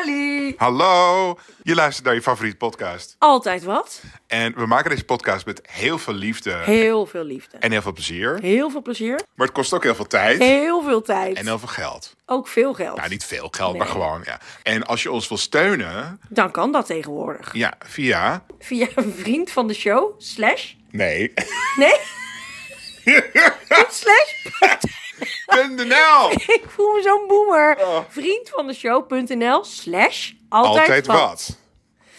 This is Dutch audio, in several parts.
Halli! Hallo, je luistert naar je favoriete podcast. Altijd wat. En we maken deze podcast met heel veel liefde Heel veel liefde. en heel veel plezier. Heel veel plezier. Maar het kost ook heel veel tijd Heel veel tijd. en heel veel geld. Ook veel geld. Nou, niet veel geld, maar Nee. gewoon. Ja. En als je ons wil steunen, Dan kan dat tegenwoordig. ja, via. Via een vriend van de show. Slash. Nee. Nee. Niet slash. .nl. Ik voel me zo'n boomer. Oh. Vriend van de show.nl. Slash. Altijd, Altijd wat. wat.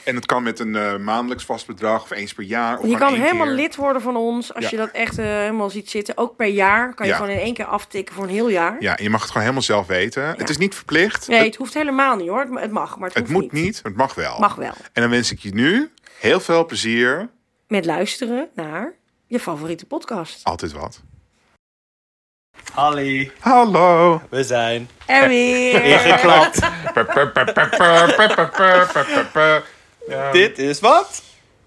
En het kan met een eh, maandelijks vast bedrag of eens per jaar. Of Je gewoon kan één helemaal keer. lid worden van ons. Als Ja. je dat echt eh, helemaal ziet zitten. Ook per jaar. Kan je Ja. gewoon in één keer aftikken voor een heel jaar. Ja, en je mag het gewoon helemaal zelf weten. Het is niet verplicht. Nee, het, het hoeft helemaal niet hoor. Het, het mag, maar het, het hoeft moet niet, maar het mag wel. Mag wel. En dan wens ik je nu heel veel plezier. Met luisteren naar je favoriete podcast. Altijd wat. Halli, Hallo. we zijn En weer. ingeklapt. Dit is wat?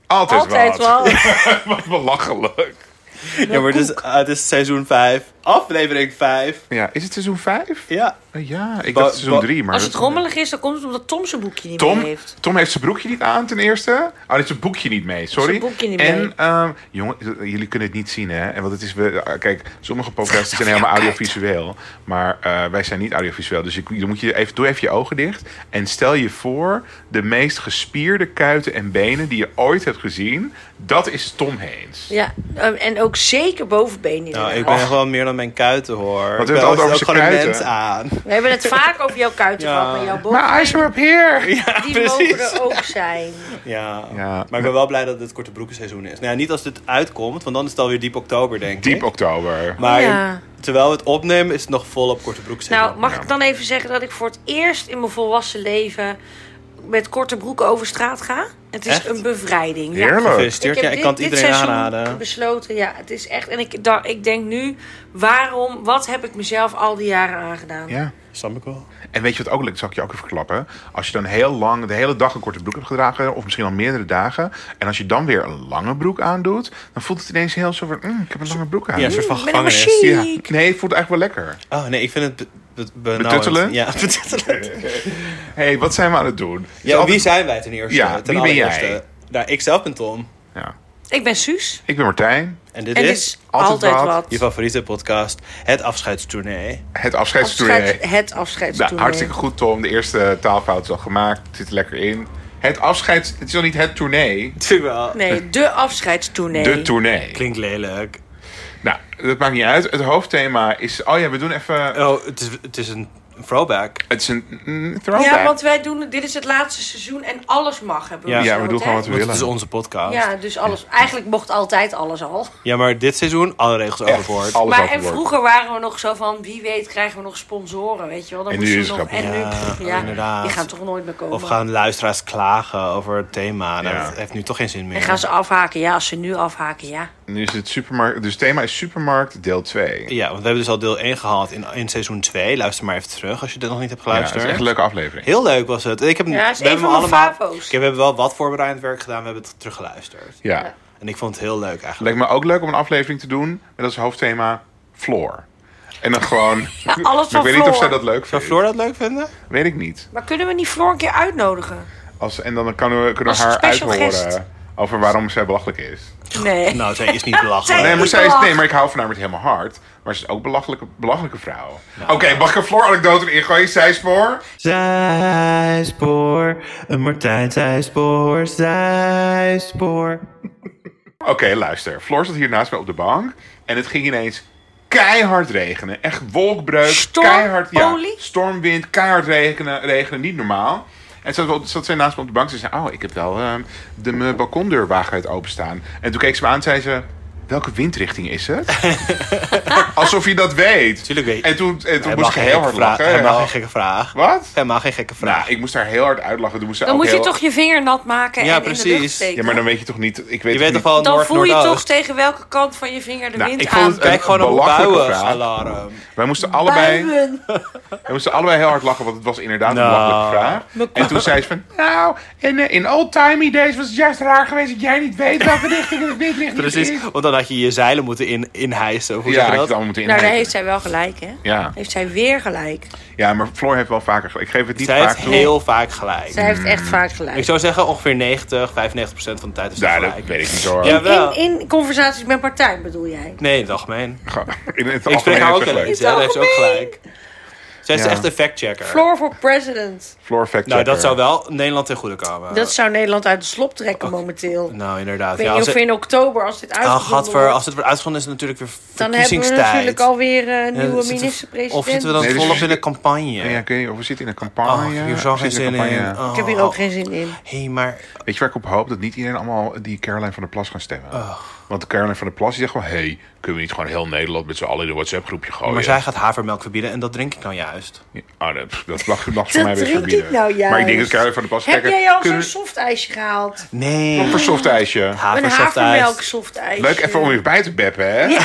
Altijd, Altijd wel. Wat belachelijk. Ja, maar dus, eh, het is seizoen 5, aflevering 5. Ja, is het seizoen 5? Ja, Eh, Ja, ik Ba- dacht seizoen ba- 3, maar... Als het dat- rommelig is, dan komt het omdat Tom zijn boekje niet Tom, meer heeft. Tom heeft zijn broekje niet aan, ten eerste. Oh, hij heeft zijn boekje niet mee, sorry. Zijn boekje niet en, mee. ehm, jongen, jullie kunnen het niet zien, hè? En Want het is, we, ah, kijk, sommige podcasts zijn helemaal audiovisueel. Maar eh, wij zijn niet audiovisueel. Dus ik, dan moet je even, doe even je ogen dicht. En stel je voor, de meest gespierde kuiten en benen die je ooit hebt gezien. Dat is Tom Heens. Ja, ehm, en ook zeker bovenbeen in nou, ik ben Och. gewoon meer dan mijn kuiten Wat hoor. Ik we ben het altijd ook- over ook zijn gewoon een kuiten. mens aan. We hebben het vaak over jouw kuitenvak Ja. en jouw My bovenbeen. eyes are up here! Ja, Die precies. mogen er ook zijn. Ja. Ja. maar ik ben wel blij dat het korte broekenseizoen is. Nou ja, niet als dit uitkomt, want dan is het alweer diep oktober denk ik. Diep oktober. Maar Ja. terwijl we het opnemen is het nog volop korte broekenseizoen. Nou, mag ik dan even zeggen dat ik voor het eerst in mijn volwassen leven met korte broeken over straat ga? Het is Echt? een bevrijding. Ja. Heerlijk. Gefeliciteerd. Ja, ik kan het iedereen seizoen aanraden. besloten, ja, het is echt. En ik, da, ik denk nu, waarom, wat heb ik mezelf al die jaren aangedaan? Ja. Snap ik wel. En weet je wat ook leuk is? Zal ik je ook even verklappen? Als je dan heel lang, de hele dag een korte broek hebt gedragen, of misschien al meerdere dagen, en als je dan weer een lange broek aandoet, dan voelt het ineens heel zo van, "Mm, ik heb een lange broek aan. Ja, een soort van Ik ben helemaal gevangenis. chic. Ja. Nee, het voelt eigenlijk wel lekker. Oh nee, ik vind het be be- benauwend. Betuttelen? Ja, betuttelen. Hé, hey, wat zijn we aan het doen? Ja, Het is wie zijn wij ten eerste? Dus Ja, ten wie ben jij? allereerste? Nou, ik zelf ben Tom. altijd- Ja. Ik ben Suus. Ik ben Martijn, En dit en dus- is dit is altijd, Altijd wat. je favoriete podcast, het afscheidstournee. het afscheidstournee. Afscheid, het Nou, afscheidstoernooi. hartstikke goed Tom, de eerste taalfout is al gemaakt, het zit er lekker in. Het afscheids... Het is al niet het tournee, Dat vind ik wel. Nee, de afscheidstoernooi. de tournee. Klinkt lelijk. Nou, dat maakt niet uit. Het hoofdthema is... Oh ja, we doen even... Oh, het is, het is een throwback. Het is een mm, throwback. Ja, want wij doen, dit is het laatste seizoen en alles mag hebben Ja. Ja, we doen besloten, gewoon hè? wat we Want het willen. is onze podcast. Ja, Ja, dus alles. Eigenlijk mocht altijd alles al. maar dit seizoen alle regels Echt, overboord. alles Maar en overboord. vroeger waren we nog zo van, wie weet krijgen we nog sponsoren, weet je wel. Dan En nu moesten we is het nog, en grappig. nu, Ja, pff, ja, inderdaad. die gaan toch nooit meer komen. Of gaan luisteraars klagen over het thema? Nou, Ja. Dat heeft nu toch geen zin meer. En gaan ze afhaken? Ja, als ze nu afhaken, ja. Nu is het supermarkt. Dus het thema is supermarkt deel 2. Ja, want we hebben dus al deel 1 gehad in, in seizoen 2. Luister maar even terug als je dit nog niet hebt Ja, het geluisterd. is echt een leuke aflevering. Heel leuk was het. Ik heb, Ja, het is we een hebben van mijn allemaal- favo's. Ik heb- we hebben wel wat voorbereidend werk gedaan. We hebben het teruggeluisterd. Ja. Ja. En ik vond het heel leuk eigenlijk. Lijkt me ook leuk om een aflevering te doen met als hoofdthema floor. En dan gewoon. alles ik van weet niet of Floor. zij dat leuk Zou vindt. Floor dat leuk vinden? Weet ik niet. Maar kunnen we niet Floor een keer uitnodigen? Als, en dan kunnen we, kunnen Als we haar special uithoren guest. over waarom zij belachelijk is. Nee. Nou, zij is niet belachelijk. Nee, maar niet zij is, belachelijk. nee, maar ik hou van haar met helemaal hart. Maar ze is ook een belachelijke, belachelijke vrouw. Oké, mag ik een Floor-anekdote erin gooien? Zijspoor? Zijspoor, een Martijn zijspoor, zijspoor. Oké, luister. Floor zat hier naast mij op de bank. En het ging ineens keihard regenen. Echt wolkbreuk. Storm, keihard, ja, olie? stormwind, keihard regenen, regenen. Niet normaal. En zat, wel- zat zij naast me op de bank. Ze zei, oh, ik heb wel ehm, de mijn balkondeur wagenwijd openstaan. En toen keek ze me aan en zei ze... Welke windrichting is het? Alsof je dat weet. Tuurlijk weet- En toen, en toen Hij moest mag ik geen heel gekke hard vraag. lachen. Hij mag Ja. geen gekke vraag. Wat? Hij mag geen gekke vraag. Nou, ik moest haar heel hard uitlachen. Toen moest ze Dan ook moet je heel- toch je vinger nat maken Ja, en in de lucht precies. steken. Ja, maar dan weet je toch niet... Ik weet je toch niet... weet toch wel dan Noord, voel je toch Noordoost? tegen welke kant van je vinger de Nou, wind ik vond aan. het Kijk gewoon Een op belachelijke buien-alarm. Wij moesten allebei... Buien. We moesten allebei heel hard lachen, want het was inderdaad een Nou. belachelijke vraag. En toen zei ze van, nou, in, eh, in old timey days was het juist raar geweest dat jij niet weet welke richting het windrichting Precies, is. want dan had had je je zeilen moeten in, inhijsen. Of hoe Ja, zeg ik je het dat? allemaal moeten Nou, daar inhalen. heeft zij wel gelijk, hè? Ja. Heeft zij weer gelijk. ja, maar Floor heeft wel vaker gelijk. Ik geef het niet Zij vaak heeft toe. heel vaak gelijk. Zij heeft echt vaak Mm. Ik gelijk. zou zeggen ongeveer 90, 95 procent van de tijd is ze Ja, dat gelijk. weet ik niet hoor. Ja, In, wel. in conversaties met partij bedoel jij? Nee, in het algemeen. In het Ik spreek algemeen haar heeft ook ze wel eens. In gelijk. hè, het Daar heeft ze ook algemeen. gelijk. Zij is Ja. echt een factchecker. Floor for president. Floor fact Nou, dat zou wel Nederland ten goede komen. Dat zou Nederland uit de slop trekken momenteel. Ik Nou, inderdaad. weet Ah. Ja, niet als of het, in oktober, als dit Ah, uitgevonden gadver, wordt, als het wordt uitgezonden is het natuurlijk weer dan hebben we verkiezingstijd. natuurlijk alweer eh, een Ja, nieuwe zitten we- minister-president. Of zitten we dan Nee, dus volop we in een zitten- campagne? Ja, kun je, of we zitten in een Ach, campagne. hier zou We geen zitten zin een campagne. Oh, in. Oh. Ik heb hier ook geen zin in. Hé, maar Weet je waar ik op hoop? Dat niet iedereen allemaal die Caroline van der Plas gaan stemmen. Oh. Want Caroline van der Plas die zegt gewoon... hey, kunnen we niet gewoon heel Nederland met z'n allen in een WhatsApp-groepje gooien? Maar zij gaat havermelk verbieden en dat drink ik nou juist. Ja, ah, dat, dat mag, mag voor Dat mij weer drink ik verbieden. nou juist. Maar ik denk dat Caroline van der Plas... Heb kijken, jij al zo'n kunnen- soft ijsje gehaald? Nee. Voor soft ijsje. Een havermelk soft ijsje. Leuk even om weer bij te beppen, hè?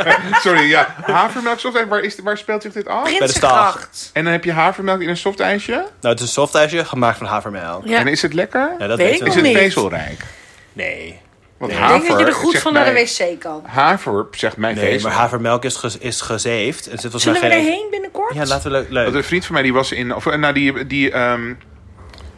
Sorry, ja. Havermelk softijs, waar, is, waar speelt zich dit af? Bij de stag. Prinsengracht. En dan heb je havermelk in een softijsje? Nou, het is een softijsje gemaakt van havermelk. Ja. En is het lekker? Ja, dat Weet weet ik ik is nog het niet. vezelrijk? Nee. Want Nee. Ik denk dat je er haver goed zegt van naar de mij- wc kan. Haver zegt mijn Nee, vezel. maar havermelk is, ge- is gezeefd. En zit volgens mij Zullen we geen- erheen binnenkort? Ja, laten we leuk. leuk. Want een vriend van mij die was in. Of, eh, nou, die. die ehm,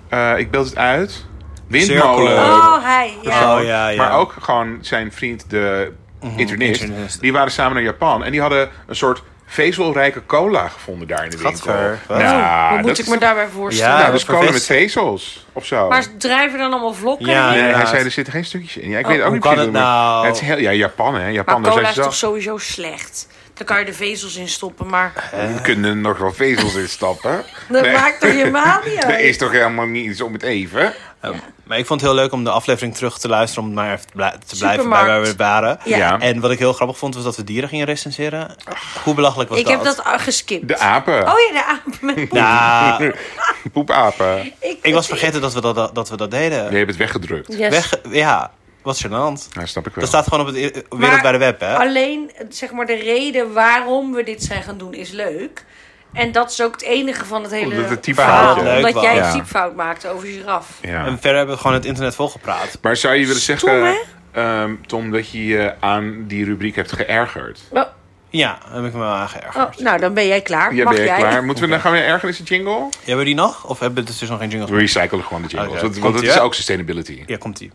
eh, ik beeld het uit. Windmolen. Cirkel. Oh, hij. Ja. Oh, ja, ja. Maar ook gewoon zijn vriend, de internist, Mhm, internist. Die waren samen naar Japan. En die hadden een soort vezelrijke cola gevonden daar in de Gadver, winkel. wat? Nou, Hoe moet dat ik is me toch- daarbij voorstellen? Ja, nou, dat dat is is cola met vervist. vezels of zo. Maar ze drijven dan allemaal vlokken Ja, in? Nee, hij inderdaad. zei, er zitten geen stukjes in. Ja, ik weet hoe ook niet kan precies het hoe- nou? Ja, het is heel, ja, Japan, hè. Japan, Maar cola daar zijn is ze zo... toch sowieso slecht? Dan kan je de vezels in stoppen, maar Er kunnen nog wel vezels in stappen. dat Nee, maakt toch helemaal niet Er uit? is toch helemaal niets om het even? Ehm, Maar ik vond het heel leuk om de aflevering terug te luisteren. Om maar even te, blij- te blijven bij Supermarkt. waar we waren. Ja. Ja. En wat ik heel grappig vond, was dat we dieren gingen recenseren. Hoe belachelijk was Ik dat? heb dat al geskipt. De apen. Oh ja, de apen met poep. Nou, Poepapen. ik was vergeten dat we dat, dat, we dat deden. Je hebt het weggedrukt. Yes. Weg, ja, wat gênant. Ja, snap ik wel. Dat staat gewoon op het i- eh, Maar wereldwijde web, hè? Alleen, zeg maar, de reden waarom we dit zijn gaan doen is leuk. En dat is ook het enige van het hele Omdat het verhaal. typfoutje leuk Omdat was. jij Ja. een typfout maakte over giraf. Ja. En verder hebben we gewoon het internet volgepraat. Maar zou je willen Stom, zeggen, ehm, Tom, dat je je aan die rubriek hebt geërgerd? Oh, Ja, daar heb ik me wel aan geërgerd. oh, nou, dan ben jij klaar. Ja, Mag ben je jij? klaar? Moeten we dan gaan we naar ergernissen jingle? Hebben we die nog? Of hebben we dus nog geen We jingles? recyclen gewoon de jingles, Oké, want, want komt-ie, dat is hè? ook sustainability. Ja, komt-ie.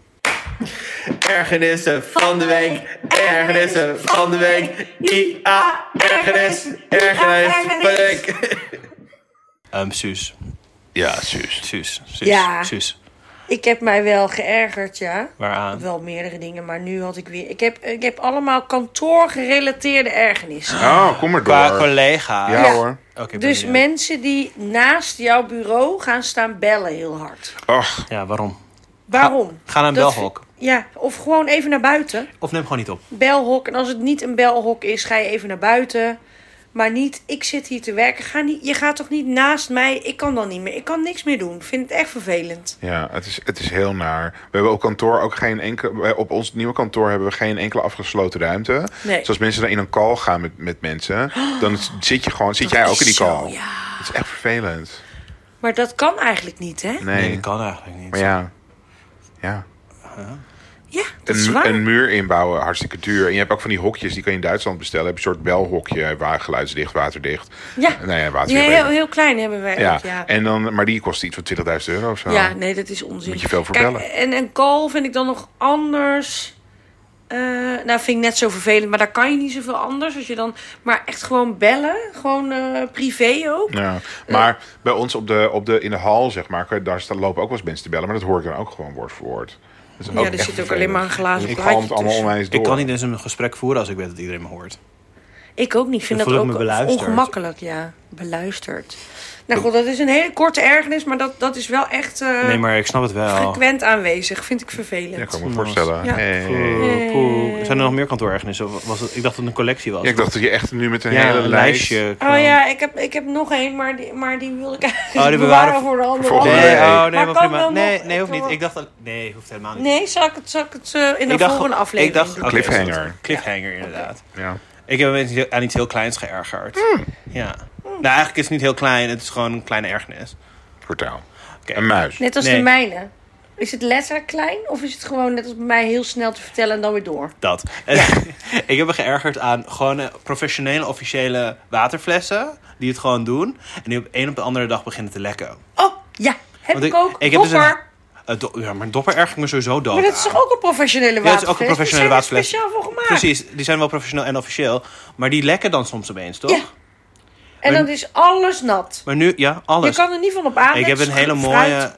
Ergernissen van de week, ergernissen van de week. IA, ergernis, ergernis van de week. Ehm Suus. Ja, zus. Suus. Suus. Ja. Suus. Ik heb mij wel geërgerd, ja. Waaraan? Wel meerdere dingen, maar nu had ik weer... Ik heb, ik heb allemaal kantoorgerelateerde ergernissen. Oh, kom maar door. Qua collega. ja, Ja. hoor. Oké, ik ben Dus eh, benieuwd. mensen die naast jouw bureau gaan staan bellen heel hard. Och, Ja, waarom? Waarom? Ga naar een Dat- belhok. Ja, of gewoon even naar buiten. Of neem gewoon niet op. belhok. En als het niet een belhok is, ga je even naar buiten. Maar niet, ik zit hier te werken. Ga niet, je gaat toch niet naast mij? Ik kan dan niet meer. Ik kan niks meer doen. Ik vind het echt vervelend. ja, het is, het is heel naar. We hebben op kantoor ook geen enkele... Op ons nieuwe kantoor hebben we geen enkele afgesloten ruimte. Nee. Oh. Dus als mensen dan in een call gaan met, met mensen... dan zit, je gewoon, zit jij ook is in die zo, call. ja. Het is echt vervelend. Maar dat kan eigenlijk niet, hè? Nee. Nee, dat kan eigenlijk niet. Maar ja. Ja. Ja, dat is Een, waar. een muur inbouwen, hartstikke duur. En je hebt ook van die hokjes, die kan je in Duitsland bestellen. Heb je een soort belhokje, eh, waar geluidsdicht, waterdicht. Ja. Nou ja, Die waterdicht. heel, heel klein hebben wij ja. ook, ja. En dan, maar die kost iets van 20.000 euro of zo. Ja, nee, dat is onzin. Moet je veel voor Kijk, bellen. En een call vind ik dan nog anders. Eh, nou, vind ik net zo vervelend. Maar daar kan je niet zoveel anders. Als je dan, maar echt gewoon bellen. Gewoon eh, privé ook. Ja. Maar bij ons op de, op de, in de hal, zeg maar, kan- daar staan- lopen ook wel eens mensen te bellen. Maar dat hoor ik dan ook gewoon woord voor woord. Dat is Ja, er echt zit ook vervelend. alleen maar een glazen Ik plaatje galm het allemaal tussen. onwijs door. Ik kan niet eens een gesprek voeren als ik weet dat iedereen me hoort. Ik ook niet. Ik vind Dan dat voel ik ook me beluisterd. ongemakkelijk, ja. Beluisterd. Nou goed, dat is een hele korte ergernis, maar dat, dat is wel echt eh, Nee, maar ik snap het wel. frequent aanwezig. Vind ik Ja, vervelend. kan ik me voorstellen. Ja. Hey. Poeh, Eh, poeh. Zijn er nog meer kantoorergenissen? Of was het, ik dacht dat het een collectie was. Ja, ik dacht dat je echt nu met een Ja, hele een lijst... lijstje. oh ja, ik heb, ik heb nog één, maar die, maar die wil ik eigenlijk Oh, die bewaren bewaren voor- voor de andere volgende Nee, Nee, aflevering. hey. oh, nee, Maar maar kan prima. wel Nee, nog- nee, hoeft kan niet. wel- Ik dacht dat... Nee, hoeft helemaal niet. Nee, zal ik het, zal ik het eh, in de ik dacht, volgende aflevering Ik dacht, doen? oké, Cliffhanger. is goed. cliffhanger, inderdaad. Ja. Ik heb me aan iets heel kleins geërgerd. Hmm. Ja. Nou, eigenlijk is het niet heel klein. Het is gewoon een kleine ergernis. Vertel. Oké. Een muis. Net als Nee. de mijne. Is het letterlijk klein of is het gewoon net als bij mij heel snel te vertellen en dan weer door? Dat. En ik heb me geërgerd aan gewoon eh, professionele, officiële waterflessen. Die het gewoon doen. En die op een op de andere dag beginnen te lekken. Oh, ja. Heb Want ik, ook. Ik heb dus een- eh, do- ja, maar een dopper erg ik me sowieso dood Maar dat is aan. toch ook een professionele Ja, waterfles? het is ook een professionele Die zijn er waterfles. speciaal voor gemaakt. Precies, die zijn wel professioneel en officieel. Maar die lekken dan soms opeens, toch? Ja. En Maar- dan is alles nat. Maar nu, ja, alles. Je kan er niet van op aan. ik Het heb is een hele fruit. mooie...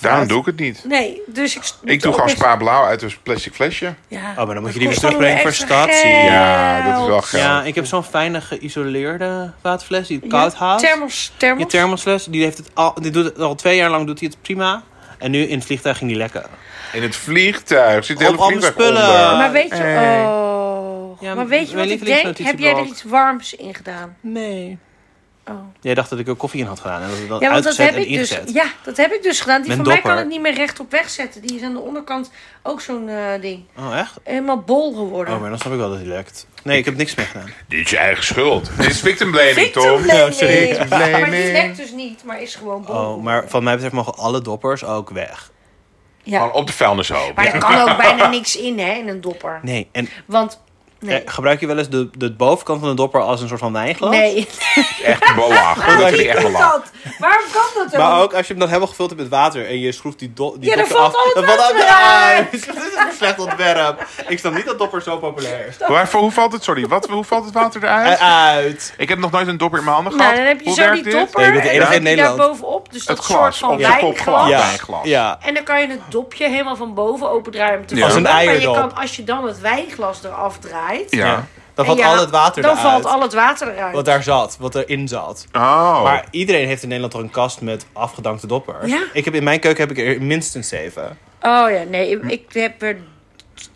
Daarom doe ik het niet. Nee, dus ik... doe Ik doe het gewoon ook spa blauw uit een plastic flesje. weer- Ja. Oh, maar dan moet je Dat die weer kost terugbrengen voor allemaal extra statie. geld. Ja, dat is wel geld. Ja, ik heb zo'n fijne geïsoleerde waterfles die het koud Ja, houdt. Thermos, thermos. Je thermosfles, die heeft het al, die doet het, al twee jaar lang doet hij het prima. En nu in het vliegtuig ging die lekken. In het vliegtuig. Zit het Op hele allemaal vliegtuig spullen. onder. Maar weet je... Hey. Oh. Eh, Ja, maar weet je wat mijn ik denk? Heb jij er lievelingsnotitieblok. iets warms in gedaan? Nee. Oh. Jij dacht dat ik er koffie in had gedaan en dat het dan Ja, want dat uitgezet heb, en ik dus, ingezet. ja, dat heb ik dus gedaan. Die Met van mij dopper. kan het niet meer rechtop wegzetten. Die is aan de onderkant ook zo'n eh, ding. Oh, echt? Helemaal bol geworden. Oh, maar dan snap ik wel dat hij lekt. Nee, ik heb niks meer gedaan. Dit is je eigen schuld. Dit is victim blaming, Victim toch? blaming. sorry. Victim Maar die blaming. lekt dus niet, maar is gewoon bol. Oh, maar van mij betreft mogen alle doppers ook weg. ja. Gewoon op de vuilnishoop. maar er kan ook bijna niks in, hè, in een dopper. Nee, en Want, nee. eh, gebruik je wel eens de, de bovenkant van de dopper als een soort van wijnglas? Nee, Echt belachelijk. Dat vind ik echt kan belachelijk. dat? Waarom kan dat dan? Maar ook als je hem dan helemaal gevuld hebt met water en je schroeft die, do die Ja, dan dopper af, valt al het dan valt water alles uit. Dat is een slecht ontwerp. Ik snap niet dat dopper zo populair is. Waarvoor, hoe valt het, sorry, wat, hoe valt het water eruit? Uit. Ik heb nog nooit een dopper in mijn handen Eh, Nou, gehad. dan heb je Hoe zo werkt die dit? dopper Nee, je bent de en enige dan in heb je daar Nederland. bovenop. Dus dat Het soort glas, van op je kop wijnglas. glas. Ja. Wijnglas. Ja. En dan kan je het dopje helemaal van boven opendraaien. Ja. Als een maar je eierdop. kan, als je dan het wijnglas eraf draait... Ja. Dan valt en ja, al het water Dan eruit. valt al het water eruit. Wat daar zat, wat erin zat. Oh. Maar iedereen heeft in Nederland toch een kast met afgedankte doppers. Ja. Ik heb, in mijn keuken heb ik er minstens zeven. Oh ja, nee, ik, ik heb er...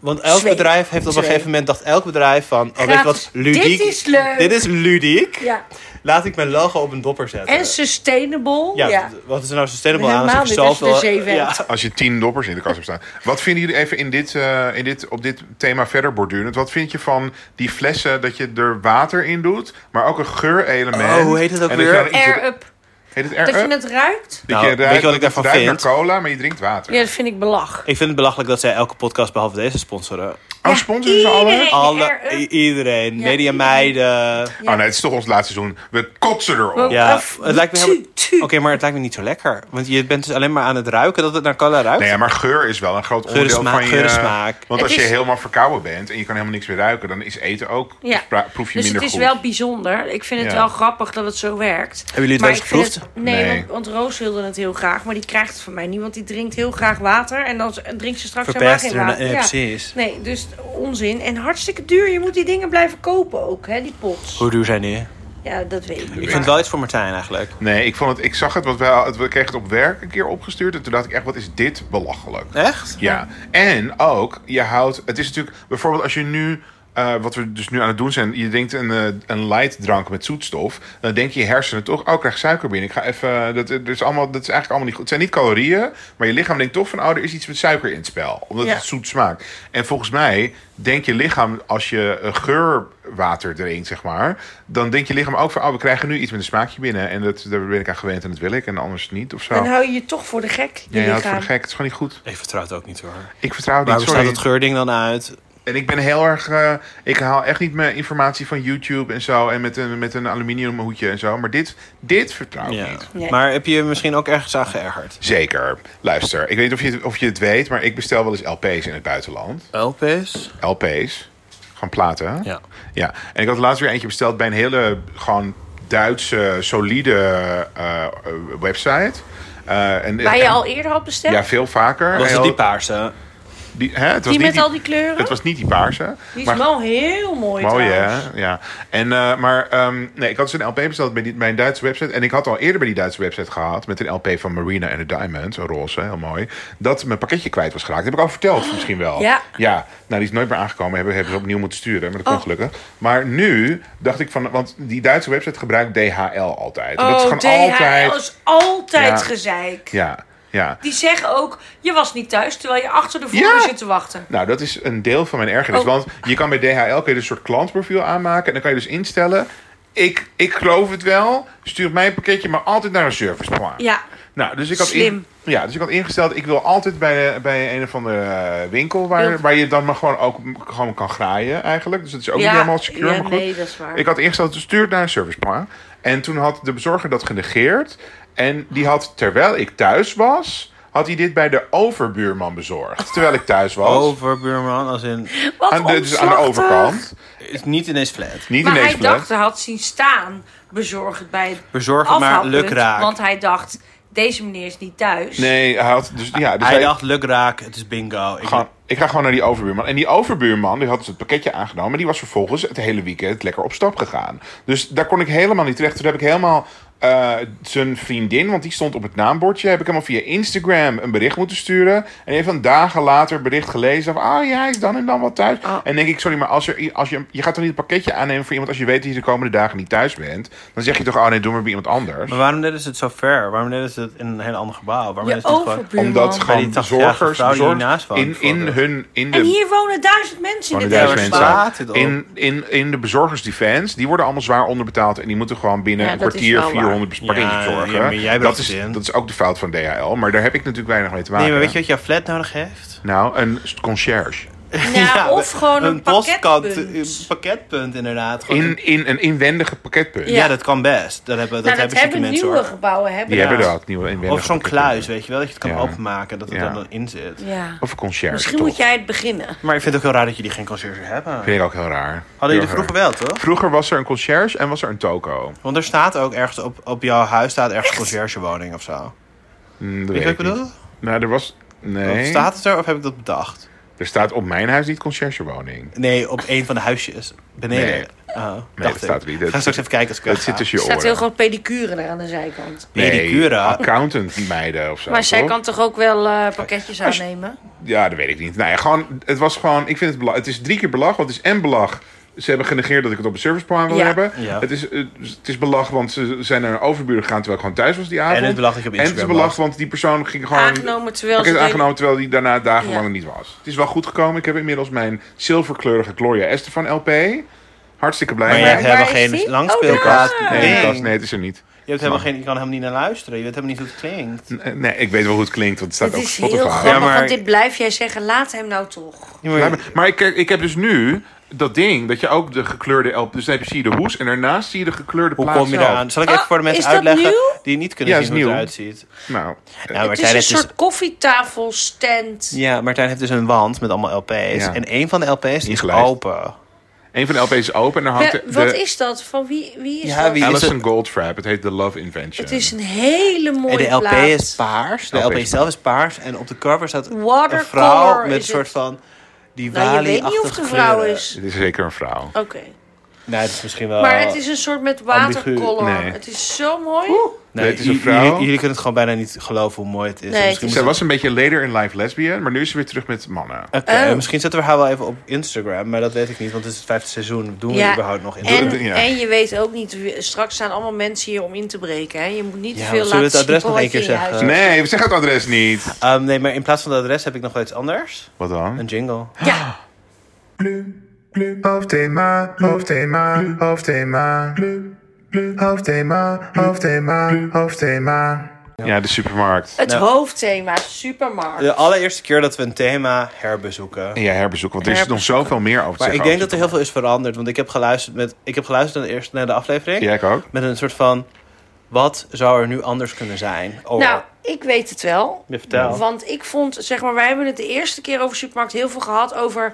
Want elk Twee. bedrijf heeft op een Twee. gegeven moment, dacht elk bedrijf van, oh weet je wat, Gratis. ludiek. Dit is leuk. Dit is ludiek. Ja. Laat ik mijn logo op een dopper zetten. En sustainable. ja, Ja. wat is er nou sustainable aan Helemaal als ik niet als je zoveel... er zeven ja. hebt. Als je tien doppers in de kast hebt staan. Wat vinden jullie even in dit, eh, in dit, op dit thema verder bordurend? Wat vind je van die flessen dat je er water in doet, maar ook een geurelement? Oh, hoe heet het ook En dat je weer? dan iets- Air up. Heet het E? Dat air je up? het ruikt. Dat Nou, je weet je ruikt- wat ik dat het daarvan ruikt vind? naar cola, maar je drinkt water. Ja, dat vind ik belach. Ik vind het belachelijk dat zij elke podcast behalve deze sponsoren. Oh, sponsoren ze alle? iedereen. Alle, er- i- iedereen, Ja, media iedereen. meiden. Oh nee, het is toch ons laatste seizoen. We kotsen erop. We- Ja, Af- het lijkt me tu- helemaal... tu. Oké, maar het lijkt me niet zo lekker. Want je bent dus alleen maar aan het ruiken dat het naar cola ruikt. Nee, maar geur is wel een groot en onderdeel smaak, van je... geur en smaak. Want Het als je is- helemaal verkouden bent en je kan helemaal niks meer ruiken... dan is eten ook... Ja. dus pra- proef je dus minder het is goed. wel bijzonder. Ik vind het Ja. wel grappig dat het zo werkt. Hebben jullie het wel eens geproefd? nee, Nee. Want, want Roos wilde het heel graag. Maar die krijgt het van mij niet. Want die drinkt heel graag water. En dan z- drinkt ze straks helemaal Verpest geen er- water. eh, Ja. precies. Nee, dus onzin. En hartstikke duur. Je moet die dingen blijven kopen ook, hè, die pots. Hoe duur zijn die? Ja, dat weet ik. Ik niet. vind het wel iets voor Martijn eigenlijk. Nee, ik, vond het, ik zag het, want wij, het- we kregen het op werk een keer opgestuurd... en toen dacht ik echt, wat is dit belachelijk. Echt? Ja, en ook, je houdt... Het is natuurlijk, bijvoorbeeld als je nu... eh, wat we dus nu aan het doen zijn, je drinkt een, eh, een light drank met zoetstof. Dan denk je hersenen toch, oh, ik krijg suiker binnen. Ik ga even, eh, dat, dat, is allemaal, dat is eigenlijk allemaal niet goed. Het zijn niet calorieën, maar je lichaam denkt toch van, oh, er is iets met suiker in het spel. Omdat Ja. het zoet smaakt. En volgens mij denkt je lichaam, als je eh, geurwater drinkt, zeg maar, dan denkt je lichaam ook van, oh, we krijgen nu iets met een smaakje binnen. En dat, daar ben ik aan gewend en dat wil ik en anders niet of zo. Dan hou je je toch voor de gek. Je Ja, ja, het is lichaam. voor de gek. Het is gewoon niet goed. Ik vertrouw het ook niet hoor. Ik vertrouw het Waar niet. bestaat Sorry. het geurding dan uit? En ik ben heel erg. eh, ik haal echt niet mijn informatie van YouTube en zo. En met een, met een aluminium hoedje en zo. Maar dit, dit vertrouw ik Ja. niet. Nee. Maar heb je je misschien ook ergens aan geërgerd? Zeker. Luister, ik weet niet of je, het- of je het weet, maar ik bestel wel eens LP's in het buitenland. LP's? LP's. Gewoon platen. hè? Ja. Ja, en ik had laatst weer eentje besteld bij een hele gewoon Duitse, solide eh, eh, website. Eh, en, Waar je en- al eerder had besteld? Ja, veel vaker. Was het Heel- die paarse? die- hè, het was die niet met al die kleuren? Het was niet die paarse. die is maar- wel heel mooi, Mooi trouwens. hè? Ja. En, eh, maar ehm, nee, ik had dus een LP besteld bij, die, bij een Duitse website. En ik had al eerder bij die Duitse website gehad. Met een LP van Marina and the Diamonds. Een roze, heel mooi. Dat mijn pakketje kwijt was geraakt. Dat heb ik al verteld misschien wel. Oh. Ja. Ja. Nou, die is nooit meer aangekomen. Hebben, hebben ze opnieuw moeten sturen. Maar dat kon Oh. gelukkig. Maar nu dacht ik van... Want die Duitse website gebruikt DHL altijd. En dat is Oh, gewoon DHL altijd... is altijd Ja. gezeik. Ja. Ja. Die zeggen ook, je was niet thuis terwijl je achter de voordeur Ja. zit te wachten. Nou, dat is een deel van mijn ergernis. Oh. Want je kan bij DHL kun je dus een soort klantprofiel aanmaken. En dan kan je dus instellen. ik, ik geloof het wel. Stuur mij een pakketje, maar altijd naar een serviceplaats. Ja. Nou, dus ik had Slim. In, ja, dus ik had ingesteld, ik wil altijd bij, de- bij een of andere eh, winkel waar, Wilt- waar je dan maar gewoon ook m- gewoon kan graaien eigenlijk. Dus dat is ook niet helemaal secure, ja, maar goed. nee, dat is waar. Ik had ingesteld, stuurt naar een serviceplan. En toen had de bezorger dat genegeerd. En die had, terwijl ik thuis was, had hij dit bij de overbuurman bezorgd. Terwijl ik thuis was. Oh. Overbuurman, als in... Wat aan, de, dus aan de omslachtig. overkant. Is niet ineens flat. Niet Maar ineens hij plek. dacht, hij had zien staan, bezorgd bij het Bezorg het maar, afhaalpunt, luk raak. Want hij dacht, deze meneer is niet thuis. Nee, hij had, dus, ja, dus Hij hij dacht, luk raak, het is bingo. Ik Gewoon, ik ga gewoon naar die overbuurman. En die overbuurman, die had dus het pakketje aangenomen. Die was vervolgens het hele weekend lekker op stap gegaan. Dus daar kon ik helemaal niet terecht. Toen heb ik helemaal eh, zijn vriendin, want die stond op het naambordje. Heb ik hem al via Instagram een bericht moeten sturen. En die heeft dan dagen later bericht gelezen. Van, ah ja, hij is dan en dan wat thuis. Oh. En denk ik, sorry, maar als je, als je, je gaat toch niet het pakketje aannemen voor iemand als je weet dat je de komende dagen niet thuis bent. Dan zeg je toch, oh nee, doe maar bij iemand anders. Maar waarom deden ze het zo ver? Waarom deden ze het in een heel ander gebouw? Waarom Je deden ze het gewoon... overbuurman. Omdat Bij gewoon die 80-jarige bezorgers, vrouw die bezorgers hiernaast woont, in, in bijvoorbeeld. hun... In de En hier wonen duizend mensen in de Gewoon de duizend Duitse mensen. Delfsplaat. mensen. staat het op. In, in, in de bezorgers die fans, die worden allemaal zwaar onderbetaald. En die moeten gewoon binnen Ja, een dat is kwartier wel waar. 400 pakketjes Ja, bezorgen. ja, maar jij bracht dat, het is, in. dat is ook de fout van DHL. Maar daar heb ik natuurlijk weinig mee te maken. Nee, maar weet je wat jouw flat nodig heeft? Nou, een concierge. Nou, Ja, of gewoon een, eh, postkant- pakketpunt. Nou, Een pakketpunt, inderdaad. Gewoon In, een- in een inwendige pakketpunt. ja. Ja. dat kan best. Dat hebben, dat Nou, dat hebben zieke hebben mensen nieuwe hoor. gebouwen. Hebben Die dat. hebben dat, nieuwe inwendige Of zo'n pakketpunt. kluis, weet je wel, dat je het kan Ja. openmaken, dat het Ja. er dan in zit. Ja. Of een concierge, Misschien toch? moet jij het beginnen. Maar ik vind het ook heel raar dat jullie geen conciërge hebben. Hadden Vind ik ook heel raar. jullie Heel vroeger raar. wel, toch? Vroeger was er een concierge en was er een toko. Mm, Want er staat ook ergens op, op jouw huis staat ergens conciërgewoning of zo. Hm, dat Weet weet je wat ik ik niet. bedoel? Nou, er was... Nee, Of Staat het er of heb ik dat bedacht? er staat op mijn huis niet conciergewoning. Nee, op een van de huisjes beneden. Nee. Oh, dacht dat ik. staat er niet. Dat- Ga straks even kijken als ik Dat wegga. zit tussen Er je staat oren. heel groot pedicure daar aan de zijkant. Nee, Pedicure. accountant meiden of zo. Maar zij toch? kan toch ook wel eh, pakketjes aannemen? Ja, dat weet ik niet. Nou ja, gewoon, het was gewoon, ik vind het belangrijk. Het is drie keer belag, want het is en belag. Ze hebben genegeerd dat ik het op een serviceplan wil Ja. hebben. Ja. Het, is, eh, het is belag, want ze zijn naar een overbuur gegaan terwijl ik gewoon thuis was die avond. En het belag dat je op En het is Instagram belag, was. want die persoon ging gewoon... Aangenomen terwijl pakket ze... aangenomen terwijl die daarna dagenlang Ja. er niet was. Het is wel goed gekomen. Ik heb inmiddels mijn zilverkleurige Gloria Estefan LP. Hartstikke blij Maar mee. jij hebt waar helemaal is die? geen Oh, langspeelplaat. daar. Nee, ding. dat was- nee, het is er niet. Je, hebt helemaal geen, je kan helemaal niet naar luisteren. Je weet helemaal niet hoe het klinkt. Eh, Nee, ik weet wel hoe het klinkt, want het staat Het ook op is Spotify. heel grappig, Ja, maar- want dit blijf jij zeggen. Laat hem nou toch. Ja, maar- maar ik, ik heb dus nu dat ding dat je ook de gekleurde LP. Dus dan heb je, zie je de hoes en daarnaast zie je de gekleurde Hoe plaat kom je zelf. eraan? Zal ik even Oh, voor de mensen is dat uitleggen nieuw? die niet kunnen Ja, zien is hoe het nieuw. eruit ziet? Nou, eh, Ja, Het is een soort koffietafelstand. dus- ja, Martijn heeft dus een wand met allemaal LP's. Ja. En een van de LP's die is Ingelijst. open. een van de LP's is open en daar hangt Wa- de, wat de is dat? Van wie, wie is Ja, dat? wie- is Alison het? Goldfrapp. Het heet The Love Invention. Het is een hele mooie En de LP plaat. is paars. De LP LP is zelf is paars. En op de cover staat een Watercolor vrouw met is een soort het. van die Nou, je weet niet of het Wali-achtige een vrouw kleuren. is. Het is zeker een vrouw. Oké. Nee, het is misschien wel... Maar het is een soort met watercolor. ambigu. Oh. Nee. Het is zo mooi. Nee, Nee, het is een j- vrouw. Jullie, jullie kunnen het gewoon bijna niet geloven hoe mooi het is. Nee, En het misschien, is- Zij moeten was een beetje later in life lesbian, maar nu is ze weer terug met mannen. Oké, Oh. misschien zetten we haar wel even op Instagram. Maar dat weet ik niet, want het is het vijfde seizoen. Doen we überhaupt nog Instagram? en, Ja. en je weet ook niet, wie- straks staan allemaal mensen hier om in te breken. Hè? Je moet niet Ja, te maar veel zullen we laten het adres zien wat nog één keer je in je huis zeggen? hebt. Nee, zeg het adres niet. Ehm, nee, maar in plaats van het adres heb ik nog wel iets anders. Wat dan? Een jingle. Ja, Hoofdthema, hoofdthema, hoofdthema. Hoofdthema, hoofdthema, hoofdthema. Ja, de supermarkt. het Nou. hoofdthema, supermarkt. De allereerste keer dat we een thema herbezoeken. En ja, herbezoek, want er is nog zoveel meer over te Maar zeggen ik denk dat over er heel veel is veranderd. Want ik heb geluisterd, met, ik heb geluisterd naar, de eerste, naar de aflevering. Ja, ik ook. Met een soort van... Wat zou er nu anders kunnen zijn? Oh, Nou, ik weet het wel. je vertel. Want ik vond, zeg maar, wij hebben het de eerste keer over supermarkt heel veel gehad. Over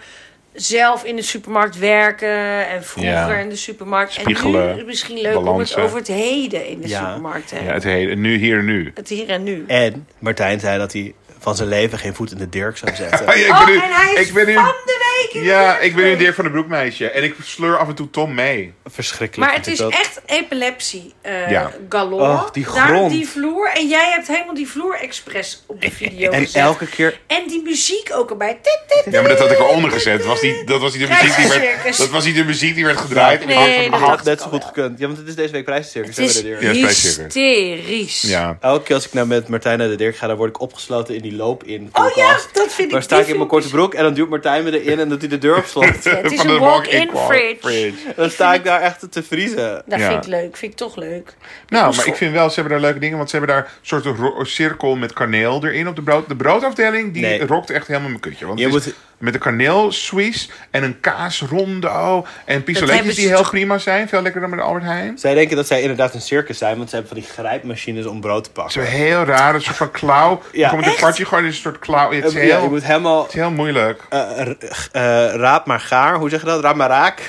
zelf in de supermarkt werken en vroeger Ja. in de supermarkt. en nu Spiegelen, is het misschien leuk om het balansen. over het heden in de Ja. supermarkt te Ja, hebben. het hele, nu, hier, nu. Het hier en nu. En Martijn zei dat hij van zijn leven geen voet in de Dirk zou zetten. Ah, ja, ik oh, ben nu- en hij is ik ben nu- van de week in de Ja, werk ik ben nu een geweest. Dirk van de Broek meisje. En ik sleur af en toe Tom mee. Verschrikkelijk. Maar het vind is ik dat. echt epilepsie eh Ja. galore. Oh, die Daar grond. die vloer. En jij hebt helemaal die vloer expres op de video En gezet. elke keer... En die muziek ook erbij. Tit, tit, tit. Ja, maar dat had ik eronder gezet. Dat was niet, dat was niet, de, muziek die werd, Krijgscircus. dat was niet de muziek die werd gedraaid. op Nee, hang van dat de hand. dacht Had net ik zo al goed wel. gekund. Ja, want het is deze week prijzencircus. Het is hebben we de Dirk. Ja, spijt zeker. hysterisch. Ja. Elke keer als ik nou met Martijn naar de Dirk ga, dan word ik opgesloten in die loop in. Oh ja, dat vind ik Daar sta ik die in filmpjes- mijn korte broek en dan duwt Martijn me erin en dan doet hij de deur op slot. Het is Van een de walk-in walk-in fridge. Dan sta ik daar echt te vriezen. Dat Ja. vind ik leuk. Vind ik toch leuk. Nou, maar ik vind wel, ze hebben daar leuke dingen. Want ze hebben daar een soort ro- cirkel met kaneel erin op de brood. De broodafdeling, die Nee. rokt echt helemaal mijn kutje. Want Je het is moet- met een kaneel Swiss en een kaas rondo. En hebben pistoletjes ze die heel toch- prima zijn. Veel lekkerder dan bij de Albert Heijn. Zij denken dat zij inderdaad een circus zijn, want ze hebben van die grijpmachines om brood te Zo pakken. heel raar, een soort van klauw. Ja. Ja, komt een Echt? partje gewoon in een soort klauw. Het is Eh, Ja, heel, je moet het helemaal is heel moeilijk. eh, r- eh, raap maar gaar. Hoe zeg je dat? Raap maar raak.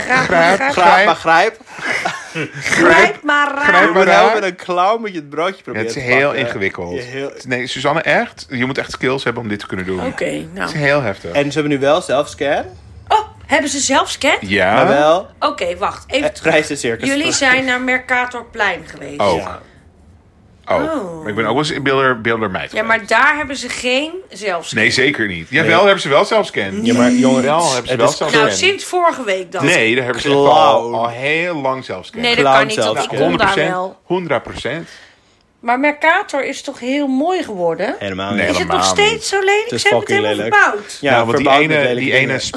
Graap, graap, graap. Graap maar graap. grijp. Grijp maar raar. Grijp Je moet maar helemaal raak. met een klauw moet je het broodje Ja, proberen het is te heel pakken. ingewikkeld. Je heel- Nee, Suzanne, echt. Je moet echt skills hebben om dit te kunnen doen. Oké, nou. Het is heel heftig. En ze hebben nu wel zelfscan, Oh, hebben ze zelf scan? ja. maar wel Oké, wacht. Even het terug. prijzencircus. Jullie zijn naar Mercatorplein geweest. Ook. Ja. Ook. Oh. Oh. Maar ik ben ook wel eens in Beelder, beelder meid Ja, maar daar hebben ze geen zelfscan. Nee, zeker niet. Jawel, wel hebben ze wel zelfscan. Ja, maar jongeren, Wel hebben ze het wel is- zelfscan. Nou, sinds vorige week dan. nee, daar hebben ze echt Clown. al, al heel lang zelfscan. Nee, Nee, dat kan niet. Clown want Ik zelfscan. kon daar wel. 100 procent. Maar Mercator is toch heel mooi geworden? helemaal Nee, niet. Is het nog helemaal niet. steeds zo lelijk? is Ze hebben het fucking helemaal lelijk. verbouwd. Ja, nou, want die verbouwd met ene, lelijke die dingen. ene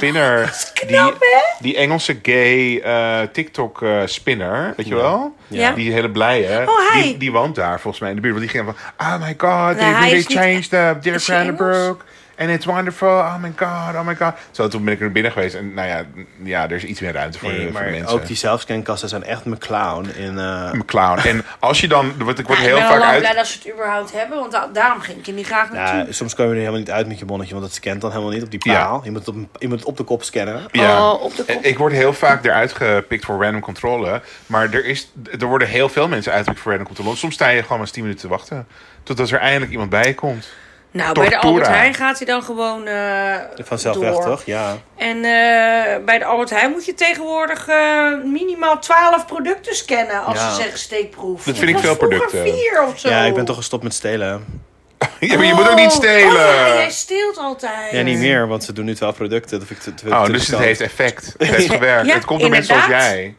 spinner, knap, die, hè? die Engelse gay eh, TikTok eh, spinner, weet je wel? Ja. Die hele blije, Oh, hij. die, die woont daar volgens mij in de buurt. Want die ging van, oh my god, they hij really is niet- changed up, Dirk Is hij Engels? Vandenbroek. And it's wonderful, oh my god, oh my god. Zo, toen ben ik er binnen geweest en nou ja, n- ja er is iets meer ruimte voor, Nee, voor maar mensen. ook die zelfscankassen zijn echt mijn clown. In, eh, Een clown. En als je dan, want ik word Ja, heel ik ben al vaak lang uit... blij dat ze het überhaupt hebben, want da- daarom ging ik er niet graag naartoe. nou, soms kom je er helemaal niet uit met je bonnetje, want het scant dan helemaal niet op die Ja. paal. Je, moet het op, een- je moet het op de kop scannen. Ja, Oh, op de kop. ik word heel vaak eruit gepikt voor random controle. Maar er, is, er worden heel veel mensen uitgepikt voor random controle. Soms sta je gewoon maar eens 10 minuten te wachten. Totdat er eindelijk iemand bij je komt. Nou, bij de Tortura. Albert Heijn gaat hij dan gewoon eh Vanzelf door. weg, toch? Ja. En eh, bij de Albert Heijn moet je tegenwoordig eh, minimaal 12 producten scannen als Ja. ze zeggen steekproef. Dat vind ik was veel vroeger producten. vier of zo. ja, ik ben toch gestopt met stelen. Ja, maar je moet ook niet Oh, stelen. jij steelt altijd. Ja, niet meer, want ze doen nu 12 producten. Dat vind ik te, te- Oh, te dus het riskant. heeft effect. Het heeft gewerkt. Ja, het komt door mensen zoals inderdaad. jij.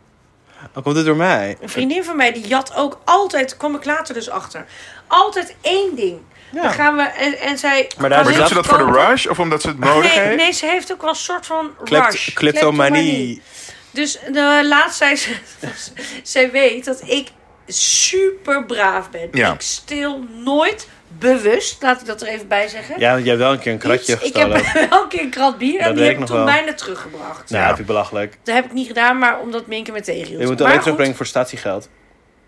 Oh, komt het door mij? Een vriendin van mij die jat ook altijd, kwam ik later dus achter. Altijd één ding. Ja. Dan gaan we en, en zij. Maar gaan Maar daar is heel doet ze dat voor de goedkoop- rush of omdat ze het nodig Nee, heeft? nee, ze heeft ook wel een soort van Oh, Klept- rush. Kleptomanie. Dus de laatst zei ze, zij weet dat ik super braaf ben. Ja. Ik stil nooit bewust, laat ik dat er even bij zeggen. Ja, want jij hebt wel een keer een kratje Iets. Ik gestolen. heb wel een keer een krat bier Dat en die weet heb ik ik nog toen wel. bijna teruggebracht. Nou, Ja. dat vind ik belachelijk. Dat heb ik niet gedaan, maar omdat Minke me tegenhield. Je moet het Maar alleen goed, terugbrengen voor statiegeld.